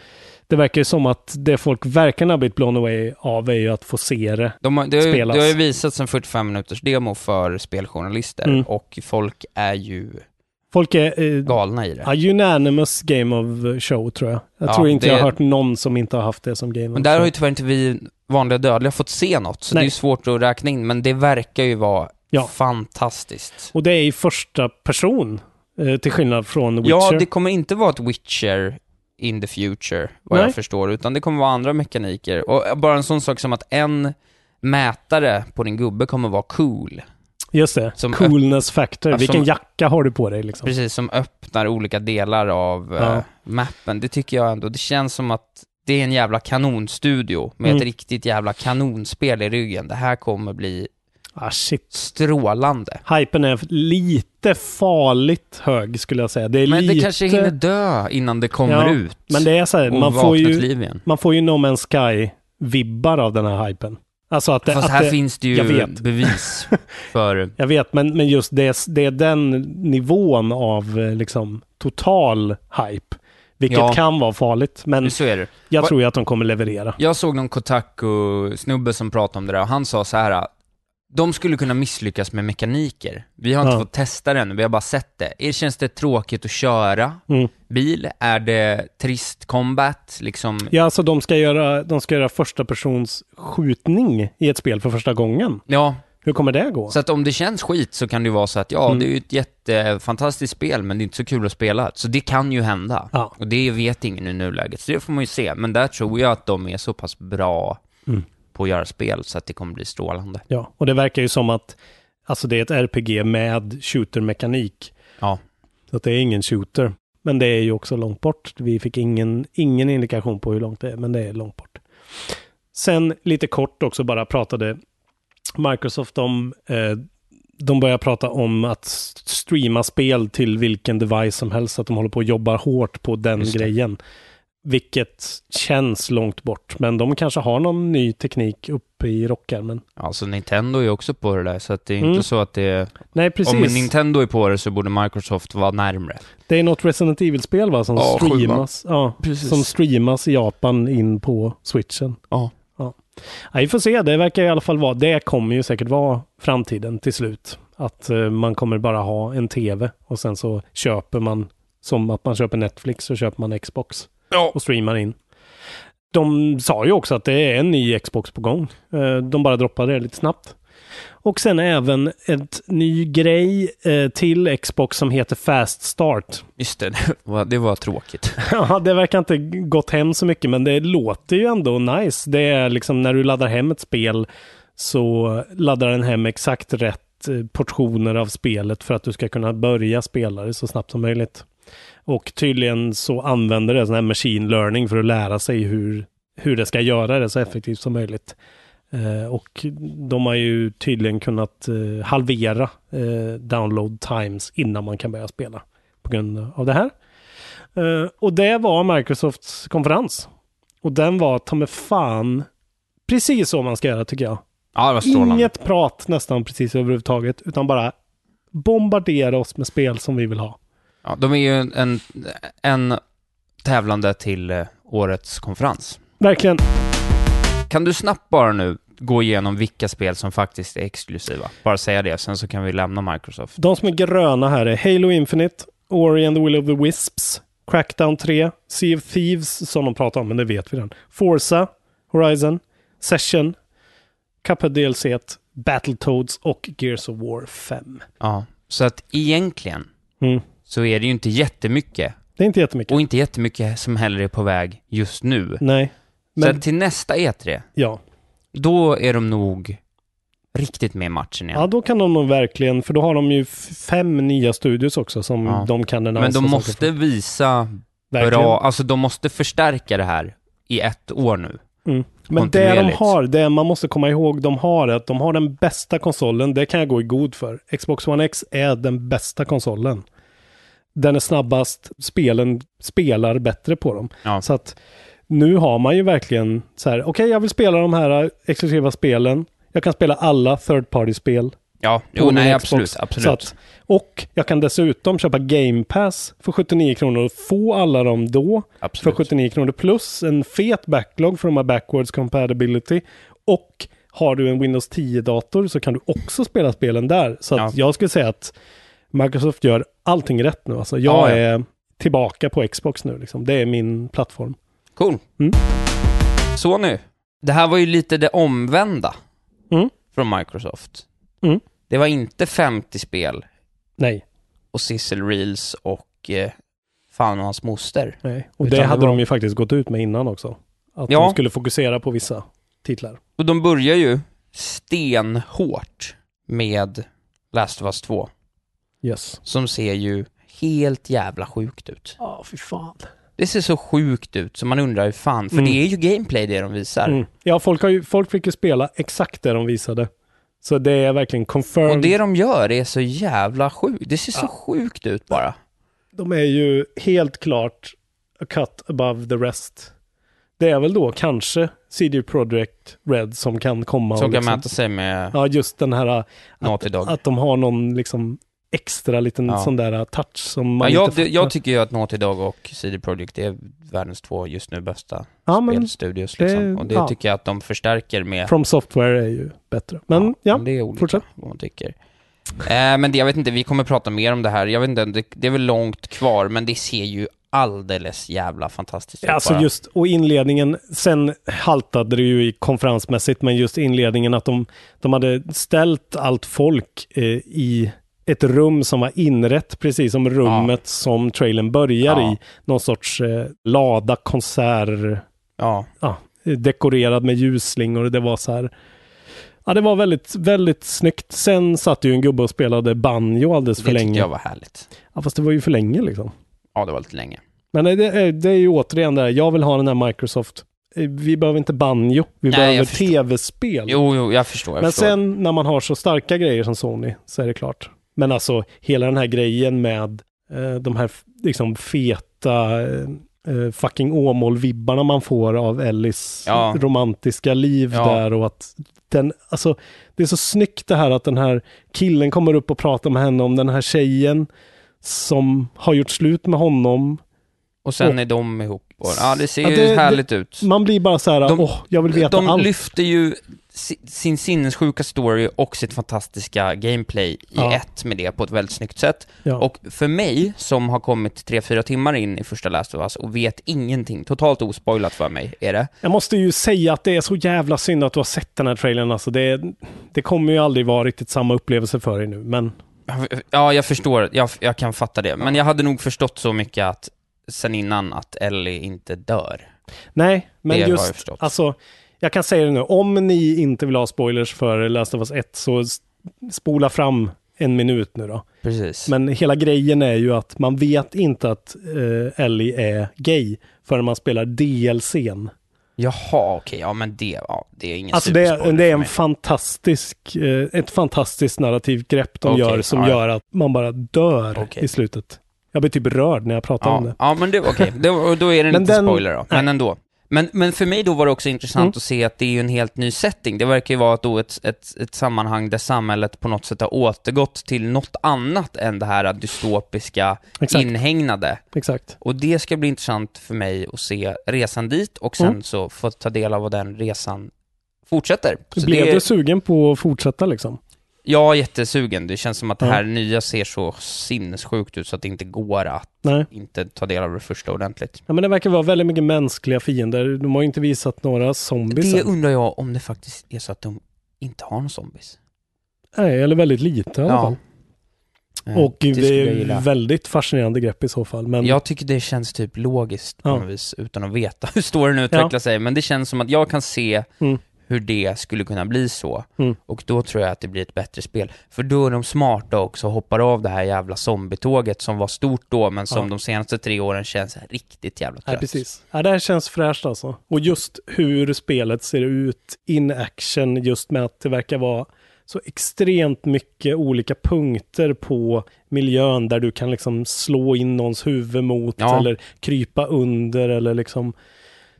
F: det verkar ju som att det folk verkligen har blivit blown away av är ju att få se det,
G: De har, det, har ju, det
F: spelas.
G: har ju visats en 45 minuters demo för speljournalister
F: Mm.
G: och folk är ju
F: Folk är eh,
G: galna i det.
F: ja, unanimous game of show tror jag. Jag
G: Ja,
F: tror inte
G: det-
F: jag har hört någon som inte har haft det som game
G: Men
F: of
G: där har
F: show.
G: ju tyvärr inte vi vanliga dödliga fått se något, så
F: Nej.
G: det är ju svårt att räkna in, men det verkar ju vara
F: Ja.
G: fantastiskt.
F: Och det är i första person, eh, till skillnad från Witcher.
G: Ja, det kommer inte vara ett Witcher in the future, vad
F: Nej.
G: jag förstår, utan det kommer vara andra mekaniker. Och bara en sån sak som att en mätare på din gubbe kommer vara cool.
F: Just det,
G: Som
F: coolness factor.
G: Ja, som-
F: Vilken jacka har du på dig liksom?
G: Precis, som öppnar olika delar av
F: Ja.
G: eh, mappen. Det tycker jag ändå, det känns som att det är en jävla kanonstudio med ett
F: Mm.
G: riktigt jävla kanonspel i ryggen. Det här kommer bli
F: Ah, shit.
G: strålande.
F: Hypen är lite farligt hög skulle jag säga. Det är
G: Men
F: lite...
G: det kanske hinner dö innan det kommer
F: Ja,
G: ut.
F: Men det är så här,
G: och
F: man får,
G: vakna
F: ju,
G: till liv igen.
F: man får ju No Man's Sky-vibbar av den här hypen. Alltså att det,
G: Fast
F: att
G: här
F: det,
G: finns det
F: Jag
G: ju
F: vet,
G: bevis för
F: jag vet men, men just det, det är den nivån av eh, liksom, total hype. Vilket
G: Ja.
F: kan vara farligt, men
G: Så är det.
F: jag
G: Va-
F: tror ju att de kommer leverera.
G: Jag såg någon Kotaku-snubbe som pratade om det där och han sa så här. De skulle kunna misslyckas med mekaniker. Vi har inte
F: Ja.
G: fått testa den, vi har bara sett det. Er känns det tråkigt att köra
F: Mm.
G: bil? Är det trist combat? Liksom,
F: Ja, alltså de ska göra, de ska göra första persons skjutning i ett spel för första gången.
G: ja.
F: Hur kommer det gå?
G: Så att om det känns skit så kan det ju vara så att ja,
F: Mm.
G: det är ju ett jättefantastiskt spel, men det är inte så kul att spela. Så det kan ju hända.
F: Ja.
G: Och det vet ingen i nuläget, så det får man ju se. Men där tror jag att de är så pass bra
F: Mm.
G: på att göra spel så att det kommer bli strålande.
F: Ja, och det verkar ju som att alltså det är ett RPG med shooter-mekanik.
G: Ja.
F: Så att det är ingen shooter. Men det är ju också långt bort. Vi fick ingen, ingen indikation på hur långt det är, men det är långt bort. Sen lite kort också bara pratade Microsoft om, eh, de börjar prata om att s- streama spel till vilken device som helst, att de håller på och jobbar hårt på den
G: Just det.
F: grejen. Vilket känns långt bort, men de kanske har någon ny teknik uppe i rockärmen.
G: Alltså Nintendo är ju också på det där, så att det är
F: Mm.
G: inte så att det är...
F: Nej, precis.
G: Om Nintendo är på det så borde Microsoft vara närmre.
F: Det är något Resident Evil-spel va? Som,
G: Ja, sjuan.
F: streamas, ja,
G: Precis.
F: som streamas i Japan in på switchen.
G: Ja.
F: ja. Ja, vi får se, det verkar i alla fall vara, det kommer ju säkert vara framtiden till slut. Att eh, man kommer bara ha en tv och sen så köper man, som att man köper Netflix så köper man Xbox
G: Ja.
F: och streamar in. De sa ju också att det är en ny Xbox på gång. Eh, De bara droppade det lite snabbt. Och sen även ett ny grej eh, till Xbox som heter Fast Start.
G: Just det, det var, det var tråkigt.
F: Ja, det verkar inte gått hem så mycket, men det låter ju ändå nice. Det är liksom när du laddar hem ett spel så laddar den hem exakt rätt eh, portioner av spelet för att du ska kunna börja spela det så snabbt som möjligt. Och tydligen så använder det sån här machine learning för att lära sig hur, hur det ska göra det så effektivt som möjligt. Eh, och de har ju tydligen kunnat eh, halvera eh, download times innan man kan börja spela på grund av det här. Eh, och det var Microsofts konferens. Och den var ta mig fan precis så man ska göra tycker jag.
G: Ja, det var strålande.
F: Inget prat nästan precis överhuvudtaget utan bara bombardera oss med spel som vi vill ha.
G: Ja, de är ju en, en, en tävlande till eh, årets konferens.
F: Verkligen.
G: Kan du snabbt bara nu gå igenom vilka spel som faktiskt är exklusiva? Bara säga det, sen så kan vi lämna Microsoft.
F: De som är gröna här är Halo Infinite, Ori and the Will of the Wisps, Crackdown 3, Sea of Thieves som de pratar om, men det vet vi redan. Forza, Horizon, Session, Cuphead DLC, Battletoads och Gears of War 5.
G: Ja, så att egentligen
F: Mm.
G: så är det ju inte jättemycket,
F: Det är inte jättemycket.
G: och inte jättemycket som heller är på väg just nu.
F: Nej.
G: Men...
F: Men
G: Sen till nästa E E3,
F: ja.
G: då är de nog riktigt med i matchen igen.
F: ja, då kan de nog verkligen, för då har de ju f- fem nya studios också som
G: Ja.
F: de kan annonsera
G: Men de
F: saker
G: måste
F: för.
G: visa
F: Verkligen.
G: bra, alltså de måste förstärka det här i ett år nu.
F: Mm. Men det de
G: kontinuerligt.
F: har, det man måste komma ihåg de har, är att de har den bästa konsolen, det kan jag gå i god för. Xbox One X är den bästa konsolen. Den är snabbast, spelen spelar bättre på dem.
G: Ja.
F: Så att nu har man ju verkligen så här, okej jag vill spela de här exklusiva spelen, jag kan spela alla third party-spel,
G: Ja, jo,
F: på min
G: nej,
F: Xbox.
G: absolut, absolut.
F: Så att, och jag kan dessutom köpa Game Pass för 79 kronor och få alla dem då för 79 kronor. Plus en fet backlog för de här backwards compatibility. Och har du en Windows 10-dator så kan du också spela spelen där. Så att jag skulle säga att Microsoft gör allting rätt nu. Alltså, jag
G: Ja, ja.
F: är tillbaka på Xbox nu. Liksom. Det är min plattform.
G: Cool.
F: Mm.
G: Så nu. Det här var ju lite det omvända från Microsoft.
F: Mm.
G: Det var inte 50 spel
F: Nej.
G: och Sissel Reels och eh, fan och hans moster.
F: Nej. Och
G: Utan
F: det hade
G: var-
F: de ju faktiskt gått ut med innan också. Att
G: Ja.
F: de skulle fokusera på vissa titlar.
G: Och de börjar ju stenhårt med Last of Us 2.
F: Yes.
G: Som ser ju helt jävla sjukt ut.
F: Ja, fy fan.
G: Det ser så sjukt ut så man undrar hur fan, för
F: Mm.
G: det är ju gameplay det de visar.
F: Mm. Ja, folk, har ju, folk fick ju spela exakt det de visade. Så det är verkligen confirmed.
G: Och det de gör är så jävla sjukt. Det ser så sjukt ut bara.
F: De är ju helt klart a cut above the rest. Det är väl då kanske CD Projekt Red som kan komma
G: Som
F: och
G: kan
F: liksom,
G: mäta sig med
F: Ja, just den här äh,
G: Naughty
F: att,
G: Dog.
F: att de har någon liksom extra liten
G: Ja.
F: sån där äh, touch som
G: Ja,
F: man
G: jag,
F: inte
G: det-
F: fattar.
G: jag tycker ju att Naughty Dog och CD Projekt är världens två just nu bästa
F: Ja, men
G: spelstudios.
F: det-
G: Liksom. och det
F: ja.
G: tycker jag att de förstärker med
F: From Software är ju bättre. Men ja,
G: men det är olika
F: fortsätt.
G: vad man tycker. Eh, men det, jag vet inte, vi kommer prata mer om det här. Jag vet inte, det, det är väl långt kvar, men det ser ju alldeles jävla fantastiskt ut
F: Alltså
G: bara.
F: just, och inledningen, sen haltade det ju i konferensmässigt, men just inledningen att de, de hade ställt allt folk eh, i ett rum som var inrett, precis som rummet som trailern börjar
G: Ja.
F: i. Någon sorts eh, lada, konsert,
G: ja.
F: eh, dekorerad med ljusslingor. Det var så här, ja det var väldigt, väldigt snyggt. Sen satt ju en gubbe och spelade banjo alldeles
G: Det
F: för
G: tyckte
F: länge.
G: jag var härligt.
F: Ja, fast det var ju för länge liksom.
G: Ja, det var lite länge.
F: Men det är, det är ju återigen det här, jag vill ha den här Microsoft. Eh, Vi behöver inte banjo, vi
G: Nej,
F: behöver
G: jag förstår.
F: tv-spel.
G: Jo, jo, jag förstår. Jag
F: Men
G: förstår.
F: sen när man har så starka grejer som Sony så är det klart. Men alltså hela den här grejen med eh, de här f- liksom feta eh, eh, fucking Åmål-vibbarna man får av Ellis
G: Ja.
F: romantiska liv
G: Ja.
F: där och att den, alltså det är så snyggt det här att den här killen kommer upp och pratar med henne om den här tjejen som har gjort slut med honom.
G: Och sen
F: Och-
G: är de ihop. Och, ja, det ser
F: Ja,
G: ju
F: det-
G: härligt
F: det-
G: ut.
F: Man blir bara så här,
G: De-
F: åh, jag vill veta
G: de
F: allt.
G: lyfter ju si- sin sinnessjuka story och sitt fantastiska gameplay i
F: Ja.
G: ett med det på ett väldigt snyggt sätt.
F: Ja.
G: Och för mig, som har kommit 3-4 timmar in i första Last of Us och vet ingenting, totalt ospoilat för mig är det.
F: Jag måste ju säga att det är så jävla synd att du har sett den här trailern. Alltså det, det kommer ju aldrig vara riktigt samma upplevelse för dig nu, men
G: Ja, jag förstår, jag, jag kan fatta det. Men jag hade nog förstått så mycket att, sen innan, att Ellie inte dör.
F: nej. Men
G: Det har jag
F: just,
G: förstått.
F: alltså, jag kan säga det nu, om ni inte vill ha spoilers för Last of Us 1 så s- spola fram en minut nu då.
G: Precis.
F: Men hela grejen är ju att man vet inte att eh, Ellie är gay förrän man spelar DLCn.
G: Jaha, okej, ja men det, ja, det är ingen
F: Alltså det, är-
G: superspoiler
F: det är
G: för
F: en
G: mig.
F: fantastisk, eh, ett fantastiskt narrativt grepp de
G: Okej,
F: gör som
G: ja, ja.
F: gör att man bara dör i slutet. Jag blir typ rörd när jag pratar om
G: Ja,
F: det.
G: ja men det, okej, då, då är det
F: Men
G: inte
F: den-
G: spoiler då, men ändå. Men, men för mig då var det också intressant
F: Mm.
G: att se att det är ju en helt ny setting. Det verkar ju vara då ett, ett, ett sammanhang där samhället på något sätt har återgått till något annat än det här dystopiska
F: Exakt.
G: inhägnade.
F: Exakt.
G: Och det ska bli intressant för mig att se resan dit och sen
F: Mm.
G: så få ta del av vad den resan fortsätter. Så
F: Blev
G: det-
F: du sugen på att fortsätta liksom?
G: jag är jättesugen. Det känns som att det
F: Ja.
G: här nya ser så sinnessjukt ut så att det inte går att
F: Nej.
G: inte ta del av det första ordentligt.
F: Ja, men det verkar vara väldigt mycket mänskliga fiender. De har ju inte visat några zombies.
G: Det
F: än.
G: undrar jag om det faktiskt är så att de inte har någon zombies.
F: Nej, eller väldigt lite i alla
G: Ja.
F: fall.
G: Eh,
F: Och det,
G: skulle jag
F: är
G: gilla.
F: väldigt fascinerande grepp i så fall. Men
G: Jag tycker det känns typ logiskt på
F: Ja.
G: något vis, utan att veta hur storyn utvecklar
F: Ja.
G: sig. Men det känns som att jag kan se
F: Mm.
G: hur det skulle kunna bli så.
F: Mm.
G: Och då tror jag att det blir ett bättre spel. För då är de smarta också och hoppar av det här jävla zombietåget som var stort då, men som
F: Ja.
G: de senaste tre åren känns riktigt jävla trött.
F: Nej, precis. Ja, det här känns fräscht alltså. Och just hur spelet ser ut in action, just med att det verkar vara så extremt mycket olika punkter på miljön där du kan liksom slå in någons huvud mot
G: Ja.
F: eller krypa under eller liksom.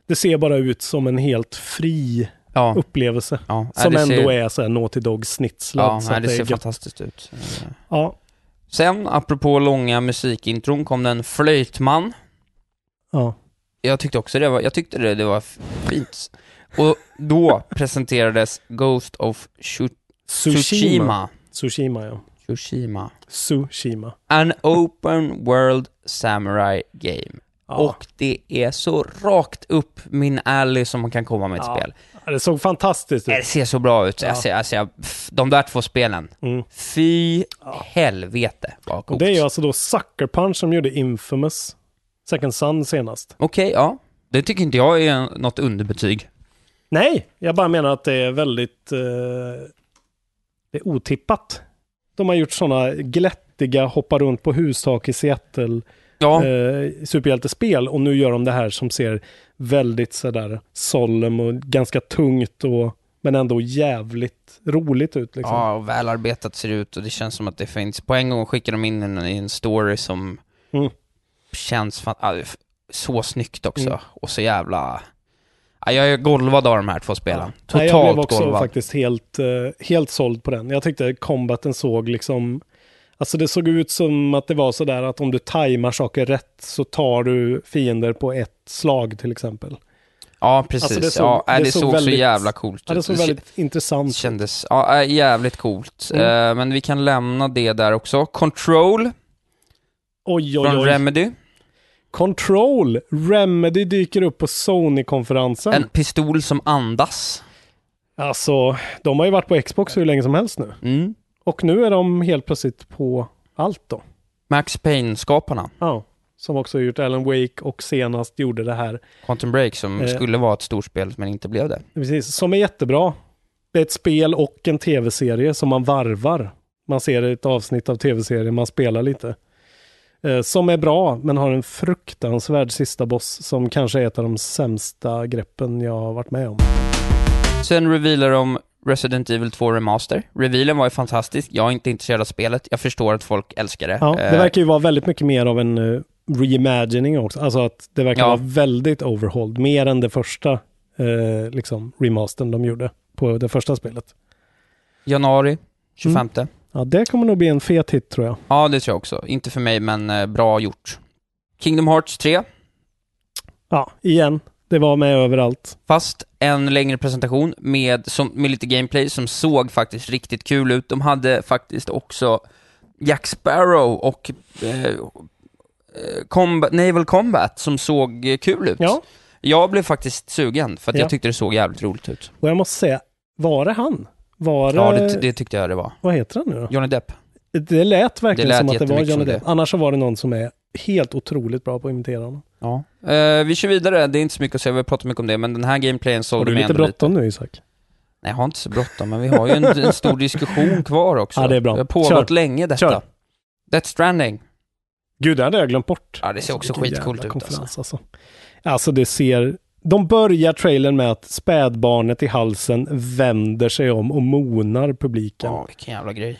F: Det ser bara ut som en helt fri
G: Ja.
F: upplevelse.
G: Ja, ja,
F: som
G: det
F: ändå
G: ser-
F: är så här Naughty Dog snitslad.
G: Ja,
F: så
G: nej,
F: att
G: det ser
F: är gött.
G: fantastiskt ut. Eh.
F: Ja.
G: Sen, apropå långa musikintron, kom den Flöjtman.
F: Ja.
G: Jag tyckte också det var, jag tyckte det, det var f- fint. Och då presenterades Ghost of Shu- Tsushima.
F: Tsushima, ja.
G: Tsushima.
F: Tsushima.
G: An open world samurai game. Och det är så rakt upp min alley som man kan komma med ett
F: Ja.
G: spel.
F: Ja, Det såg fantastiskt ut.
G: Det ser så bra ut.
F: Ja. Mm.
G: Jag ser, jag ser, pff, de där två spelen. Fy helvete vad
F: Och
G: coolt.
F: det är ju alltså då Sucker Punch som gjorde Infamous Second Sun senast.
G: Okej, ja. Det tycker inte jag är något underbetyg.
F: Nej, jag bara menar att det är väldigt eh, det är otippat. De har gjort sådana glättiga, hoppa runt på hustak i Seattle
G: Ja.
F: eh, superhjältespel och nu gör de det här som ser väldigt sådär solemn och ganska tungt och men ändå jävligt roligt ut. Liksom.
G: Ja, och välarbetat ser det ut och det känns som att det finns. På en gång skickar de in en, i en story som
F: Mm.
G: känns fan, ah, f- så snyggt också.
F: Mm.
G: Och så jävla... Ah, jag är golvad av de här två spelen.
F: Nej,
G: Totalt
F: jag blev också
G: golvad.
F: faktiskt helt, eh, helt såld på den. Jag tyckte combaten såg liksom... Alltså det såg ut som att det var sådär att om du tajmar saker rätt så tar du fiender på ett slag till exempel.
G: Ja, precis.
F: Alltså, det såg-
G: ja, nej,
F: det
G: det
F: såg
G: såg
F: väldigt-
G: så jävla coolt ut.
F: Ja, det såg
G: k-
F: väldigt intressant
G: kändes, ja, nej, jävligt coolt.
F: Mm.
G: Eh, men vi kan lämna det där också. Control
F: Oj, oj,
G: från
F: oj.
G: Remedy.
F: Control! Remedy dyker upp på Sony-konferensen.
G: En pistol som andas.
F: Alltså, de har ju varit på Xbox hur länge som helst nu.
G: Mm.
F: Och nu är de helt plötsligt på allt då.
G: Max Payne-skaparna.
F: Ja, som också har gjort Alan Wake och senast gjorde det här
G: Quantum Break som
F: Eh.
G: skulle vara ett storspel men inte blev det.
F: Precis, som är jättebra. Det är ett spel och en tv-serie som man varvar. Man ser ett avsnitt av tv-serien, man spelar lite. Eh, Som är bra, men har en fruktansvärd sista boss som kanske är ett av de sämsta greppen jag har varit med om.
G: Sen revealar de Resident Evil 2 Remaster. Revealen var ju fantastisk. Jag är inte intresserad av spelet. Jag förstår att folk älskar det.
F: Ja, det
G: Eh,
F: verkar ju vara väldigt mycket mer av en eh, reimagining också. Alltså att det verkar
G: Ja.
F: vara väldigt overhauled, mer än det första eh, liksom, remastern de gjorde på det första spelet.
G: Januari 25.
F: Ja, det kommer nog bli en fet hit tror jag.
G: Ja, det tror jag också. Inte för mig, men eh, bra gjort. Kingdom Hearts 3.
F: Ja, igen. Det var med överallt.
G: Fast en längre presentation med, som, med lite gameplay som såg faktiskt riktigt kul ut. De hade faktiskt också Jack Sparrow och eh, eh, comba- Naval Combat som såg eh, kul ut.
F: Ja.
G: Jag blev faktiskt sugen för att
F: Ja.
G: jag tyckte det såg jävligt roligt ut.
F: Och jag måste säga, var det han? Var
G: Ja, det, det tyckte jag det var.
F: Vad heter han nu då?
G: Johnny Depp.
F: Det lät verkligen
G: Det lät
F: som att det var
G: jättemycket
F: Johnny
G: som det.
F: Depp. Annars så var det någon som är helt otroligt bra på att imitera honom.
G: Ja. Eh, vi kör vidare, det är inte så mycket att säga, vi har pratat mycket om det, men den här gameplayen såg
F: Har du
G: de
F: lite
G: ändå lite.
F: bråttom nu Isak?
G: Nej, jag har inte så bråttom, men vi har ju en, en stor diskussion kvar också.
F: Ja, det är bra.
G: Det har pågått
F: Kör.
G: länge detta.
F: Kör.
G: Death Stranding.
F: Gud, det hade jag glömt bort.
G: Ja, det ser också
F: Vilken
G: skitcoolt
F: jävla
G: ut alltså.
F: konferens, alltså. Alltså det ser... De börjar trailern med att spädbarnet i halsen vänder sig om och monar publiken.
G: Ja, vilken jävla grej.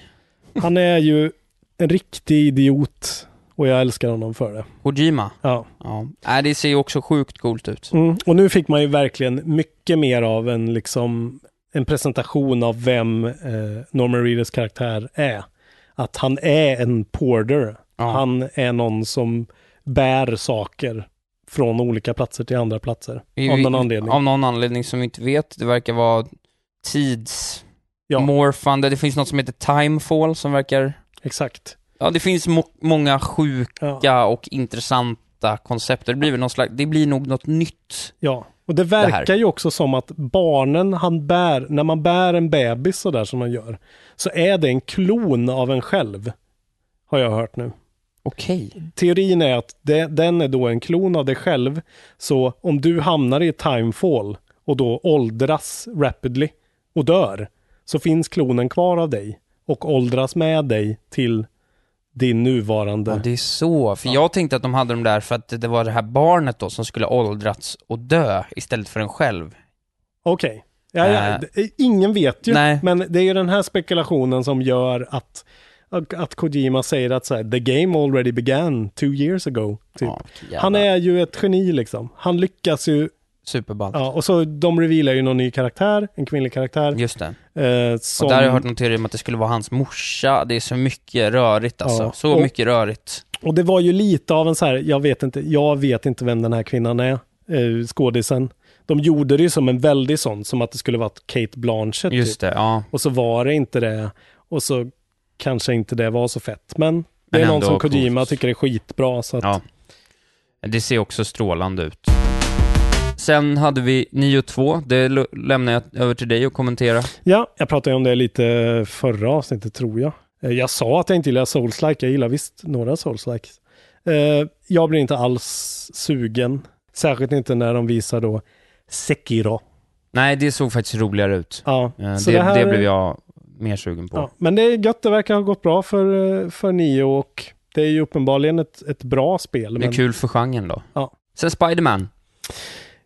F: Han är ju en riktig idiot och jag älskar honom för det.
G: Kojima.
F: Ja.
G: ja. Nej, det ser ju också sjukt coolt ut.
F: Mm. Och nu fick man ju verkligen mycket mer av en, liksom, en presentation av vem eh, Norman Reedus karaktär är. Att han är en porter. Han är någon som bär saker från olika platser till andra platser.
G: Vi-
F: av
G: vi-
F: någon anledning.
G: Av någon anledning som vi inte vet. Det verkar vara tids...
F: Ja.
G: Morfande. Det finns något som heter Timefall som verkar...
F: Exakt.
G: Ja, det finns mo- många sjuka och intressanta koncept. Det blir väl någon slags... Det blir nog något nytt.
F: Ja, och det
G: här.
F: verkar ju också som att barnen han bär, när man bär en bebis sådär som man gör, så är det en klon av en själv. Har jag hört nu.
G: Okej.
F: Teorin är att det, den är då en klon av dig själv, så om du hamnar i ett timefall och då åldras rapidly och dör, så finns klonen kvar av dig och åldras med dig till din nuvarande...
G: Ja, det är så. För jag tänkte att de hade dem där för att det var det här barnet då som skulle åldrats och dö istället för en själv.
F: Okej. Ja, ja,
G: Äh.
F: d- Ingen vet ju,
G: Nej.
F: men det är ju den här spekulationen som gör att, att Kojima säger att så här, the game already began two years ago. Typ.
G: jävla-
F: han är ju ett geni liksom. Han lyckas ju
G: Superballt.
F: Ja, och så de revealar ju någon ny karaktär, en kvinnlig karaktär.
G: Just det.
F: Eh, som...
G: Och där har jag hört någon teori om att det skulle vara hans morsa. Det är så mycket rörigt alltså.
F: Ja,
G: Så
F: och-
G: mycket rörigt.
F: Och det var ju lite av en så här, jag vet inte, jag vet inte vem den här kvinnan är, eh, skådisen. De gjorde det ju som en väldig sån, som att det skulle varit Kate Blanchett. typ.
G: Just det, ja.
F: Och så var det inte det, och så kanske inte det var så fett. Men det
G: Men
F: är någon
G: ändå
F: som Kojima tycker är skitbra, så att
G: Ja. Det ser också strålande ut. Sen hade vi 9-2. Det lo- lämnar jag över till dig att kommentera.
F: Ja, jag pratade ju om det lite förra avsnittet tror jag. Eh, Jag sa att jag inte gillar Souls-like, jag gillar visst några Souls-likes. Eh, Jag blir inte alls sugen, särskilt inte när de visar då Sekiro.
G: Nej, det såg faktiskt roligare ut.
F: Ja,
G: Eh,
F: så
G: det,
F: det här-
G: det blev jag mer sugen på.
F: Ja, men det är gött, det verkar ha gått bra för, eh, för Nio och det är ju uppenbarligen ett, ett bra spel.
G: Det är
F: men-
G: kul för genren då.
F: Ja.
G: Sen Spiderman.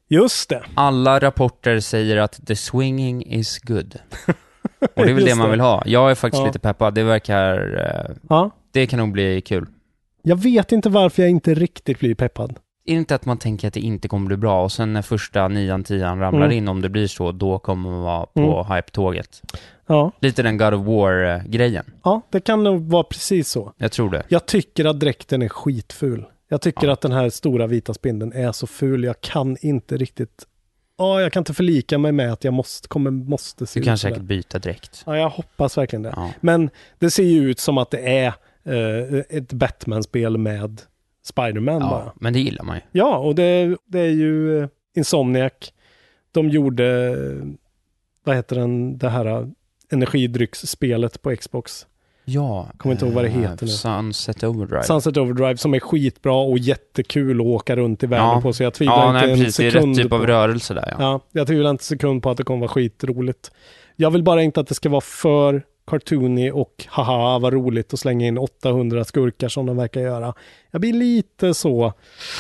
F: Just det.
G: Alla rapporter säger att the swinging is good. Och det är väl
F: Just
G: det man
F: det.
G: vill ha. Jag är faktiskt
F: Ja.
G: lite peppad. Det verkar... eh,
F: Ja.
G: Det kan nog bli kul.
F: Jag vet inte varför jag inte riktigt blir peppad.
G: Är det inte att man tänker att det inte kommer bli bra och sen när första nian, tian ramlar
F: Mm.
G: in, om det blir så, då kommer man vara på hype-tåget.
F: Ja.
G: Lite den God of War-grejen.
F: Ja, det kan nog vara precis så.
G: Jag tror det.
F: Jag tycker att dräkten är skitful. Jag tycker att den här stora vita spindeln är så ful. Jag kan inte riktigt... Ja, jag kan inte förlika mig med att jag måste, kommer, måste se
G: Du kan
F: ut sådär.
G: säkert byta direkt.
F: Ja, jag hoppas verkligen det. Men det ser ju ut som att det är eh, ett Batman-spel med Spiderman bara.
G: Ja, men det gillar man ju.
F: Ja, och det, det är ju eh, Insomniac. De gjorde, eh, vad heter den, det här eh, energidrycksspelet på Xbox.
G: Ja.
F: Kommer inte ihåg vad det
G: eh,
F: heter nu.
G: Sunset Overdrive.
F: Sunset Overdrive som är skitbra och jättekul att åka runt i världen
G: Ja.
F: på. Så jag tvivlar
G: Ja,
F: inte
G: nej,
F: en
G: precis. Det är
F: sekund
G: rätt typ av
F: på-
G: rörelse där, ja.
F: ja. jag tvivlar inte en sekund på att det kommer vara skitroligt. Jag vill bara inte att det ska vara för cartoony och haha vad roligt att slänga in 800 skurkar som de verkar göra. Jag blir lite så.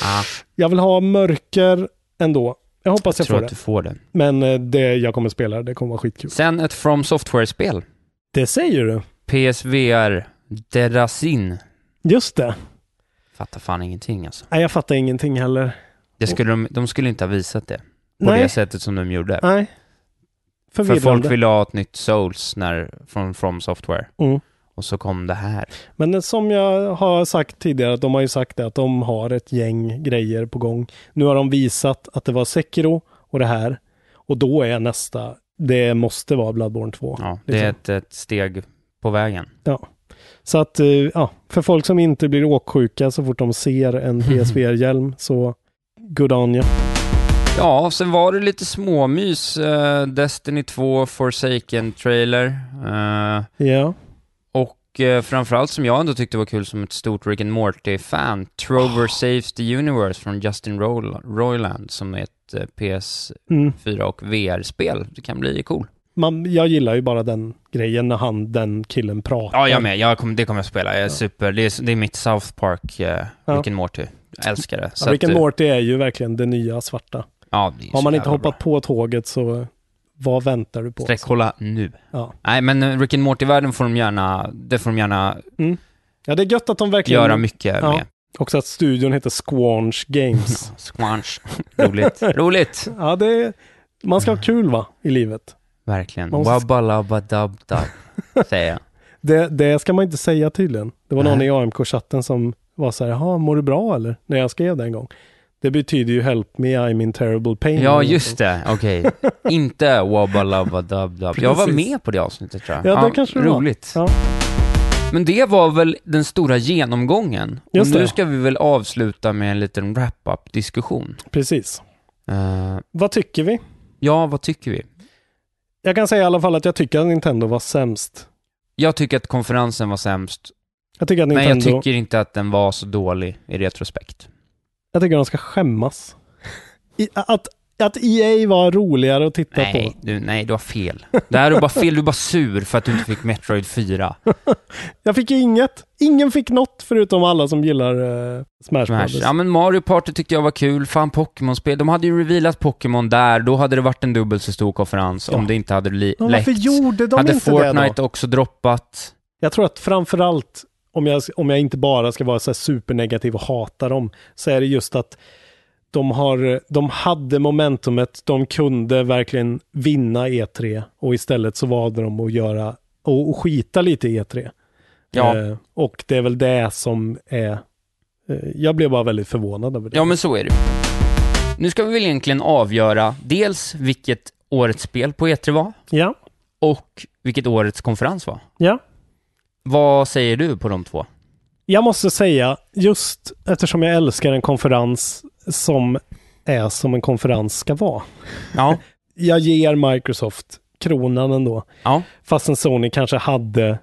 G: Ah,
F: Jag vill ha mörker ändå. Jag hoppas jag,
G: jag tror
F: får
G: att
F: det.
G: du får det.
F: Men eh, det jag kommer spela, det kommer vara skitkul.
G: Sen ett From Software-spel.
F: Det säger du.
G: PSVR Derasin.
F: Just det.
G: Fattar fan ingenting alltså.
F: Nej, jag fattar ingenting heller.
G: Det skulle de, de skulle inte ha visat det. På
F: Nej.
G: det sättet som de gjorde.
F: Nej.
G: För
F: Förvirrande.
G: folk ville ha ett nytt Souls när, från From Software.
F: Mm.
G: Och så kom det här.
F: Men eh, som jag har sagt tidigare, att de har ju sagt det, att de har ett gäng grejer på gång. Nu har de visat att det var Sekiro och det här. Och då är nästa, det måste vara Bloodborne 2.
G: Ja, det är ett, ett steg på vägen.
F: Ja. Så att, eh, ja, för folk som inte blir åksjuka så fort de ser en PSVR-hjälm så good on you.
G: Ja, sen var det lite småmys. eh, Destiny 2, Forsaken-trailer. eh,
F: Ja.
G: Och eh, framförallt som jag ändå tyckte var kul som ett stort Rick and Morty-fan, Trover Saves the Universe från Justin Roil- Roiland som är ett eh,
F: Mm.
G: PS4 och VR-spel. Det kan bli cool.
F: Man, jag gillar ju bara den grejen när han, den killen pratar.
G: Ja, jag med. Jag kommer- det kommer jag spela. Jag är super. Det är, det är mitt South Park, eh,
F: Ja.
G: Rick and Morty. Jag älskar det.
F: Ja, Rick and
G: att, eh,
F: Morty är ju verkligen det nya svarta.
G: Ja, det är ju
F: Har
G: så
F: man inte
G: jävla
F: hoppat på tåget så vad väntar du på?
G: Sträckkolla nu.
F: Ja.
G: Nej, men eh, Rick and Morty-världen får de gärna, det får de gärna
F: Mm. ja, det är gött att de verkligen...
G: Göra mycket
F: ja.
G: med.
F: Också att studion heter Squanch Games.
G: Squanch. Roligt. Roligt!
F: ja, det är... Man ska ha kul va, i livet.
G: Verkligen.
F: Man måste-
G: Wabba labba dub dub, säger jag.
F: Det, det ska man inte säga tydligen. Det var någon
G: Nej.
F: i AMK-chatten som var så här, jaha, mår du bra eller? När jag skrev det en gång. Det betyder ju help me, I'm in terrible pain.
G: Ja,
F: eller
G: just det. Okej. Inte wabba labba dub dub. Jag var
F: Precis.
G: med på det avsnittet tror jag.
F: Ja, det kanske det var.
G: Roligt.
F: Ja.
G: Men det var väl den stora genomgången.
F: Just
G: och nu
F: det.
G: ska vi väl avsluta med en liten wrap-up-diskussion.
F: Precis.
G: Eh,
F: Vad tycker vi?
G: ja, vad tycker vi?
F: Jag kan säga i alla fall att jag tycker att Nintendo var sämst.
G: Jag tycker att konferensen var sämst,
F: Jag tycker att
G: men
F: Nintendo...
G: jag tycker inte att den var så dålig i retrospekt.
F: Jag tycker de ska skämmas. I, att, att EA var roligare att titta
G: Nej,
F: på.
G: du, nej, du har fel. Det här är bara fel, du är bara sur för att du inte fick Metroid 4.
F: Jag fick ju inget. Ingen fick något förutom alla som gillar eh, Smash,
G: Smash.
F: Brothers.
G: Ja men Mario Party tyckte jag var kul, fan Pokémon-spel, de hade ju revealat Pokémon där, då hade det varit en dubbelt så stor konferens om det inte hade li-
F: Men varför
G: läckt.
F: gjorde de
G: hade
F: inte det
G: Fortnite
F: då?
G: också droppat?
F: Jag tror att framförallt, om jag, om jag inte bara ska vara så här supernegativ och hata dem, så är det just att de, har, de hade momentumet, de kunde verkligen vinna E3 och istället så valde de att göra och, och skita lite i E3.
G: Ja.
F: Eh, och det är väl det som är... Eh, jag blev bara väldigt förvånad över det.
G: Ja, men så är det Nu ska vi väl egentligen avgöra dels vilket årets spel på E3 var.
F: Ja.
G: Och vilket årets konferens var.
F: Ja.
G: Vad säger du på de två?
F: Jag måste säga, just eftersom jag älskar en konferens som är som en konferens ska vara.
G: Ja.
F: jag ger Microsoft kronan ändå.
G: Ja.
F: Fastän Sony kanske hade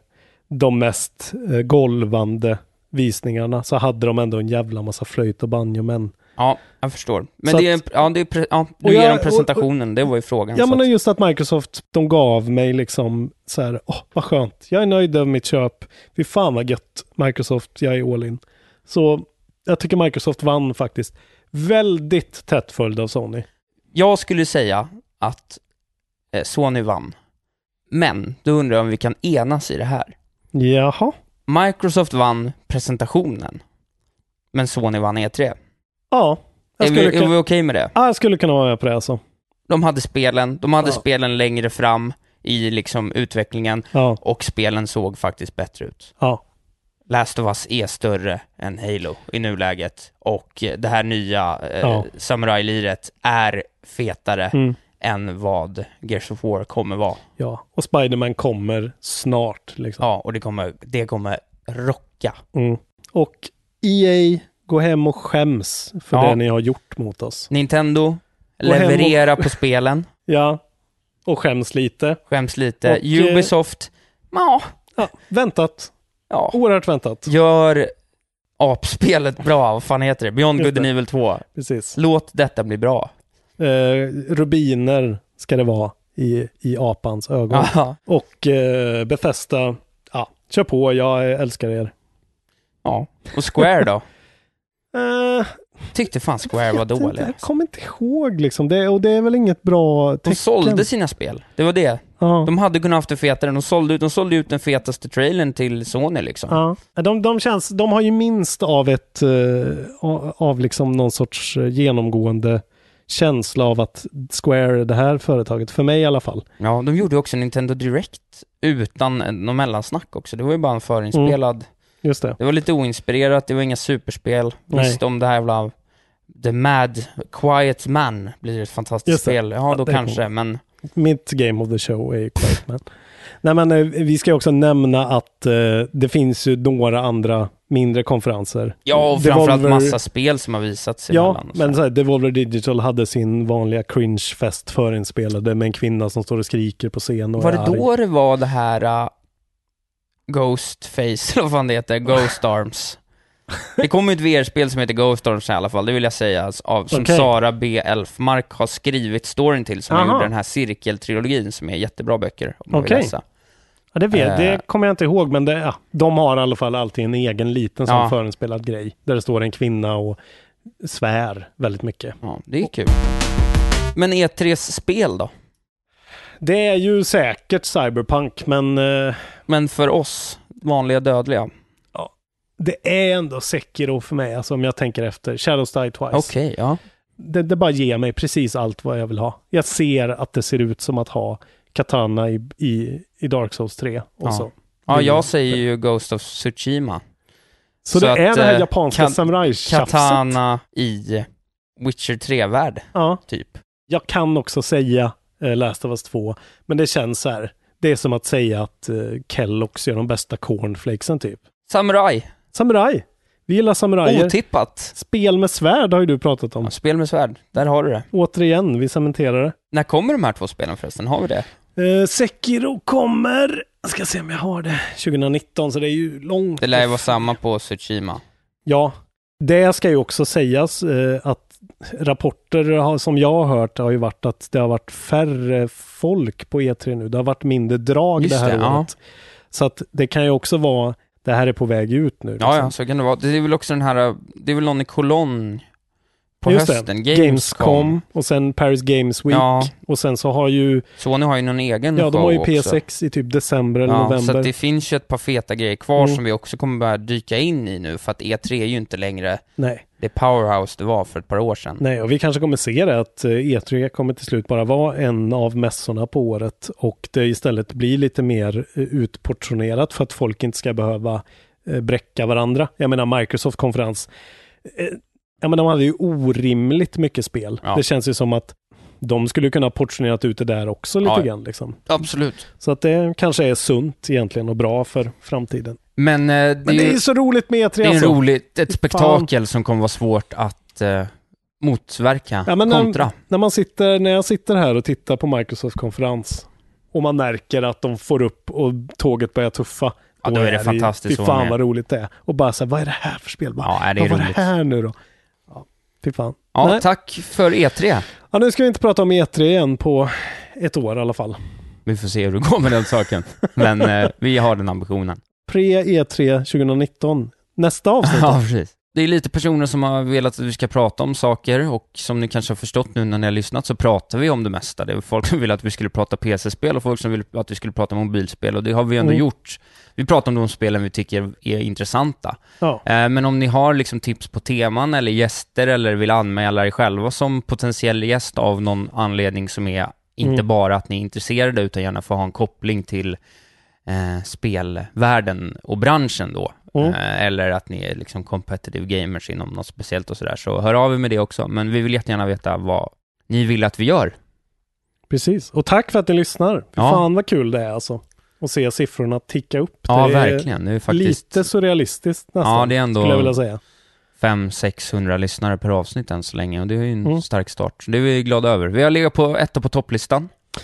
F: de mest eh, golvande visningarna så hade de ändå en jävla massa flöjt och banjomän.
G: Ja, jag förstår. Men
F: Så
G: det är,
F: att-
G: ja, det är, pre- ja,
F: Och
G: du ger
F: jag-
G: dem presentationen, det var ju frågan.
F: Ja,
G: så
F: men
G: att-
F: just att Microsoft, de gav mig liksom så här, åh, vad skönt, jag är nöjd över mitt köp, fy fan vad gött, Microsoft, jag är all in. Så jag tycker Microsoft vann faktiskt. Väldigt tätt följd av Sony.
G: Jag skulle säga att eh, Sony vann. Men, då undrar jag om vi kan enas i det här.
F: Jaha.
G: Microsoft vann presentationen, men Sony vann E3.
F: Ja, jag
G: Är vi,
F: skulle,
G: är vi okej
F: kunna,
G: med det?
F: ja, jag skulle kunna vara med på det alltså.
G: De hade spelen, de hade
F: Ja.
G: spelen längre fram i liksom utvecklingen
F: Ja.
G: och spelen såg faktiskt bättre ut.
F: Ja.
G: Last of Us är större än Halo i nuläget och eh, det här nya eh,
F: Ja.
G: Samurai-liret är fetare
F: Mm.
G: än vad Gears of War kommer vara.
F: Ja, och Spiderman kommer snart. Liksom.
G: Ja, och det kommer, det kommer rocka.
F: Mm. Och EA, gå hem och skäms för
G: Ja.
F: det ni har gjort mot oss.
G: Nintendo
F: Gå hem och-
G: leverera på spelen,
F: Ja, och skäms lite.
G: skäms lite.
F: Och, eh,
G: Ubisoft, ja,
F: Ja, väntat.
G: Ja.
F: Oerhört väntat.
G: gör apspelet bra, vad fan heter det? Beyond
F: Just
G: Good and
F: det.
G: Evil 2.
F: Precis.
G: Låt detta bli bra.
F: Eh, rubiner ska det vara i, i apans ögon.
G: Ja.
F: Och eh, Bethesda, ja, kör på, jag älskar er.
G: Ja. Och Square då?
F: Eh,
G: Tyckte fan Square var
F: vet inte,
G: dålig.
F: Jag kommer inte ihåg liksom, det, och det är väl inget bra tecken.
G: De sålde sina spel. Det var det.
F: Ja.
G: De hade kunnat haft det fetare. De sålde ut, de sålde ut den fetaste trailern till Sony liksom.
F: Ja, de, de, känns, de har ju minst av ett eh, av liksom någon sorts eh, genomgående känsla av att Square är det här företaget, för mig i alla fall.
G: Ja, de gjorde ju också Nintendo Direct utan eh, någon mellansnack också. Det var ju bara en förinspelad...
F: Just det.
G: Det var lite oinspirerat, det var inga superspel.
F: Nej.
G: Visst, om det här jävla... The Mad Quiet Man blir ett fantastiskt
F: Just det.
G: spel. Ja,
F: Ja,
G: då
F: det
G: kanske,
F: kommer.
G: men...
F: Mitt game of the show är ju Quiet Man. Nej, men eh, vi ska ju också nämna att eh, det finns ju några andra mindre konferenser.
G: Ja, och framförallt
F: Devolver-
G: massa spel som har visats
F: Ja,
G: emellan och så.
F: men så här, Devolver Digital hade sin vanliga cringe-fest förinspelade med en kvinna som står och skriker på scen och
G: Var
F: är
G: det
F: arg.
G: då det var det här uh, Ghost Face, eller vad fan det heter, Ghost Arms? Det kommer ett VR-spel som heter Ghost Arms i alla fall, det vill jag säga, alltså, av, som
F: Okej.
G: Sara B. Elfmark har skrivit storyn till, som
F: Aha.
G: gjorde den här cirkeltrilogin, som är jättebra böcker om man vill
F: Okej.
G: läsa.
F: Ja, det, vet,
G: Eh.
F: det kommer jag inte ihåg, men det, ja, de har i alla fall alltid en egen liten sån
G: Ja.
F: förinspelad grej. Där det står en kvinna och svär väldigt mycket.
G: Ja, det är kul. Men E3s spel då?
F: Det är ju säkert cyberpunk, men eh,
G: Men för oss vanliga dödliga?
F: det är ändå Sekiro för mig, alltså om jag tänker efter. Shadows Die Twice.
G: Okej, ja.
F: Det, det bara ger mig precis allt vad jag vill ha. Jag ser att det ser ut som att ha Katana i, i, i Dark Souls 3. Och
G: Ja.
F: så.
G: Ja,
F: Det-
G: jag säger ju Ghost of Tsushima.
F: Så, det är det här
G: eh,
F: japanska
G: Kat-
F: samurajtjafset.
G: Katana i Witcher 3-värld,
F: Ja.
G: typ.
F: Jag kan också säga eh, Last of Us 2, men det känns så här. Det är som att säga att eh, Kellogg's gör de bästa cornflakesen typ.
G: Samurai,
F: Samuraj! Vi gillar samurajer.
G: otippat.
F: Spel med svärd har ju du pratat om.
G: Ja, spel med svärd, där har du det.
F: Återigen, vi cementerar det.
G: När kommer de här två spelen förresten? Har vi det?
F: Eh, Sekiro kommer, jag ska se om jag har det, 2019 så det är ju långt.
G: Det lär ju vara samma på Tsushima.
F: Ja, det ska ju också sägas eh, att rapporter har, som jag har hört har ju varit att det har varit färre folk på E3 nu. Det har varit mindre drag
G: Just
F: det här
G: det, ja.
F: året. Så att det kan ju också vara, det här är på väg ut nu.
G: Ja, ja,
F: liksom.
G: så kan det vara. Det är väl också den här, det är väl någon i Cologne på
F: Just
G: hösten.
F: Det. Gamescom. och sen Paris Games Week.
G: Ja.
F: Och sen så har ju...
G: Sony har ju någon egen
F: Ja, de har ju
G: show också.
F: P6 i typ december eller
G: Ja, så
F: november.
G: att det finns ju ett par feta grejer kvar
F: Mm.
G: som vi också kommer börja dyka in i nu, för att E3 är ju inte längre
F: Nej.
G: det powerhouse det var för ett par år sedan.
F: Nej, och vi kanske kommer se det att eh, E3 kommer till slut bara vara en av mässorna på året och det istället blir lite mer eh, utportionerat för att folk inte ska behöva eh, bräcka varandra. Jag menar Microsoft konferens, eh, ja men de hade ju orimligt mycket spel. Det känns ju som att de skulle kunna ha portionerat ut det där också lite
G: Ja, ja.
F: grann. Liksom.
G: Absolut.
F: Så att det kanske är sunt egentligen och bra för framtiden.
G: Men, eh, det,
F: Men det är ju så roligt med E3
G: Det är en
F: alltså.
G: roligt, ett
F: Fan.
G: spektakel som kommer vara svårt att eh, motverka,
F: Ja, men eh,
G: kontra.
F: när, när, man sitter, när jag sitter här och tittar på Microsofts konferens och man märker att de får upp och tåget börjar tuffa.
G: Ja, då är det fantastiskt
F: Fy
G: att vara
F: fan
G: med.
F: vad roligt det är. Och bara så här, vad är det här för spel? Bara,
G: Ja, nej, det är
F: vad
G: roligt.
F: var det här nu då? Ja, fy fan.
G: Ja,
F: Nej.
G: tack för E E3.
F: Ja, nu ska vi inte prata om E3 igen på ett år i alla fall.
G: Vi får se hur det går med den saken. Men eh, vi har den ambitionen.
F: Pre-E3 2019. E Nästa avsnitt.
G: Ja, precis. Det är lite personer som har velat att vi ska prata om saker och som ni kanske har förstått nu när ni har lyssnat så pratar vi om det mesta. Det är folk som vill att vi skulle prata PC-spel och folk som vill att vi skulle prata mobilspel och det har vi ändå
F: Mm.
G: gjort. Vi pratar om de spelen vi tycker är intressanta.
F: Ja.
G: Eh, Men om ni har liksom tips på teman eller gäster eller vill anmäla er själva som potentiell gäst av någon anledning som är inte
F: Mm.
G: bara att ni är intresserade utan gärna får ha en koppling till eh, spelvärlden och branschen då.
F: Mm.
G: Eh, eller att ni är liksom competitive gamers inom något speciellt och sådär. Så hör av er med det också. Men vi vill jättegärna veta vad ni vill att vi gör.
F: Precis. Och tack för att ni lyssnar. Fy
G: Ja.
F: Fan vad kul det är alltså. Att se siffrorna ticka upp.
G: Ja,
F: det är
G: verkligen. Det är faktiskt-
F: Lite surrealistiskt nästan.
G: ja, det är ändå
F: Skulle jag vilja säga.
G: 500-600 lyssnare per avsnitt än så länge och det är ju en
F: Mm.
G: stark start. Så Det är vi glada över. Vi har legat på etta på topplistan. på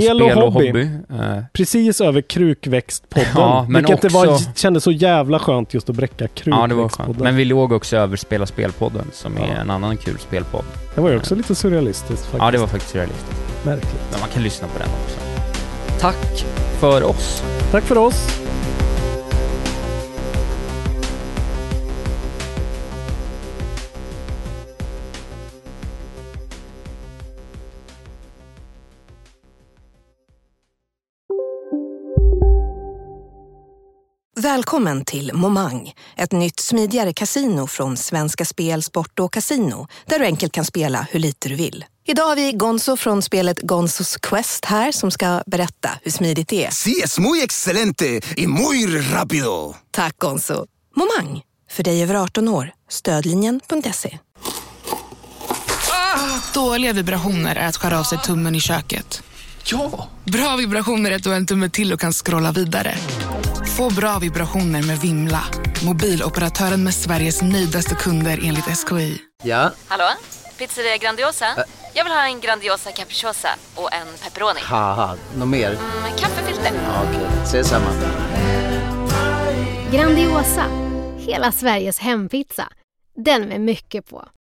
F: Spel och hobby.
G: Eh,
F: Precis över krukväxtpodden.
G: Ja, men
F: vilket det
G: också-
F: var, kändes så jävla skönt just att bräcka
G: ja, det var skönt.
F: krukväxtpodden.
G: Men vi låg också över Spela Spelpodden som är en annan kul spelpodd.
F: Det var ju också lite surrealistiskt faktiskt.
G: Ja, det var faktiskt realistiskt.
F: Märkligt.
G: Men man kan lyssna på den också. Tack för oss.
F: Tack för oss.
J: Välkommen till Momang, ett nytt smidigare casino från Svenska Spel, Sport och Casino, där du enkelt kan spela hur lite du vill. Idag har vi Gonzo från spelet Gonzos Quest här som ska berätta hur smidigt det är.
K: Sí, es muy excelente y muy rápido.
J: Tack Gonzo! Momang, för dig över 18 år. Stödlinjen.se.
L: Dåliga vibrationer är att skära av sig tummen i köket. Ja! Bra vibrationer är att du har en tumme till och kan scrolla vidare. Få bra vibrationer med Vimla. Mobiloperatören med Sveriges nöjdaste kunder enligt SKI.
M: Ja,
N: Hallå? Pizzeria Grandiosa? Jag vill ha en Grandiosa capriciosa och en pepperoni.
M: haha, något mer?
N: Med kaffefilter.
M: Ja, Okej, ses samma.
O: Grandiosa, hela Sveriges hempizza. Den med mycket på.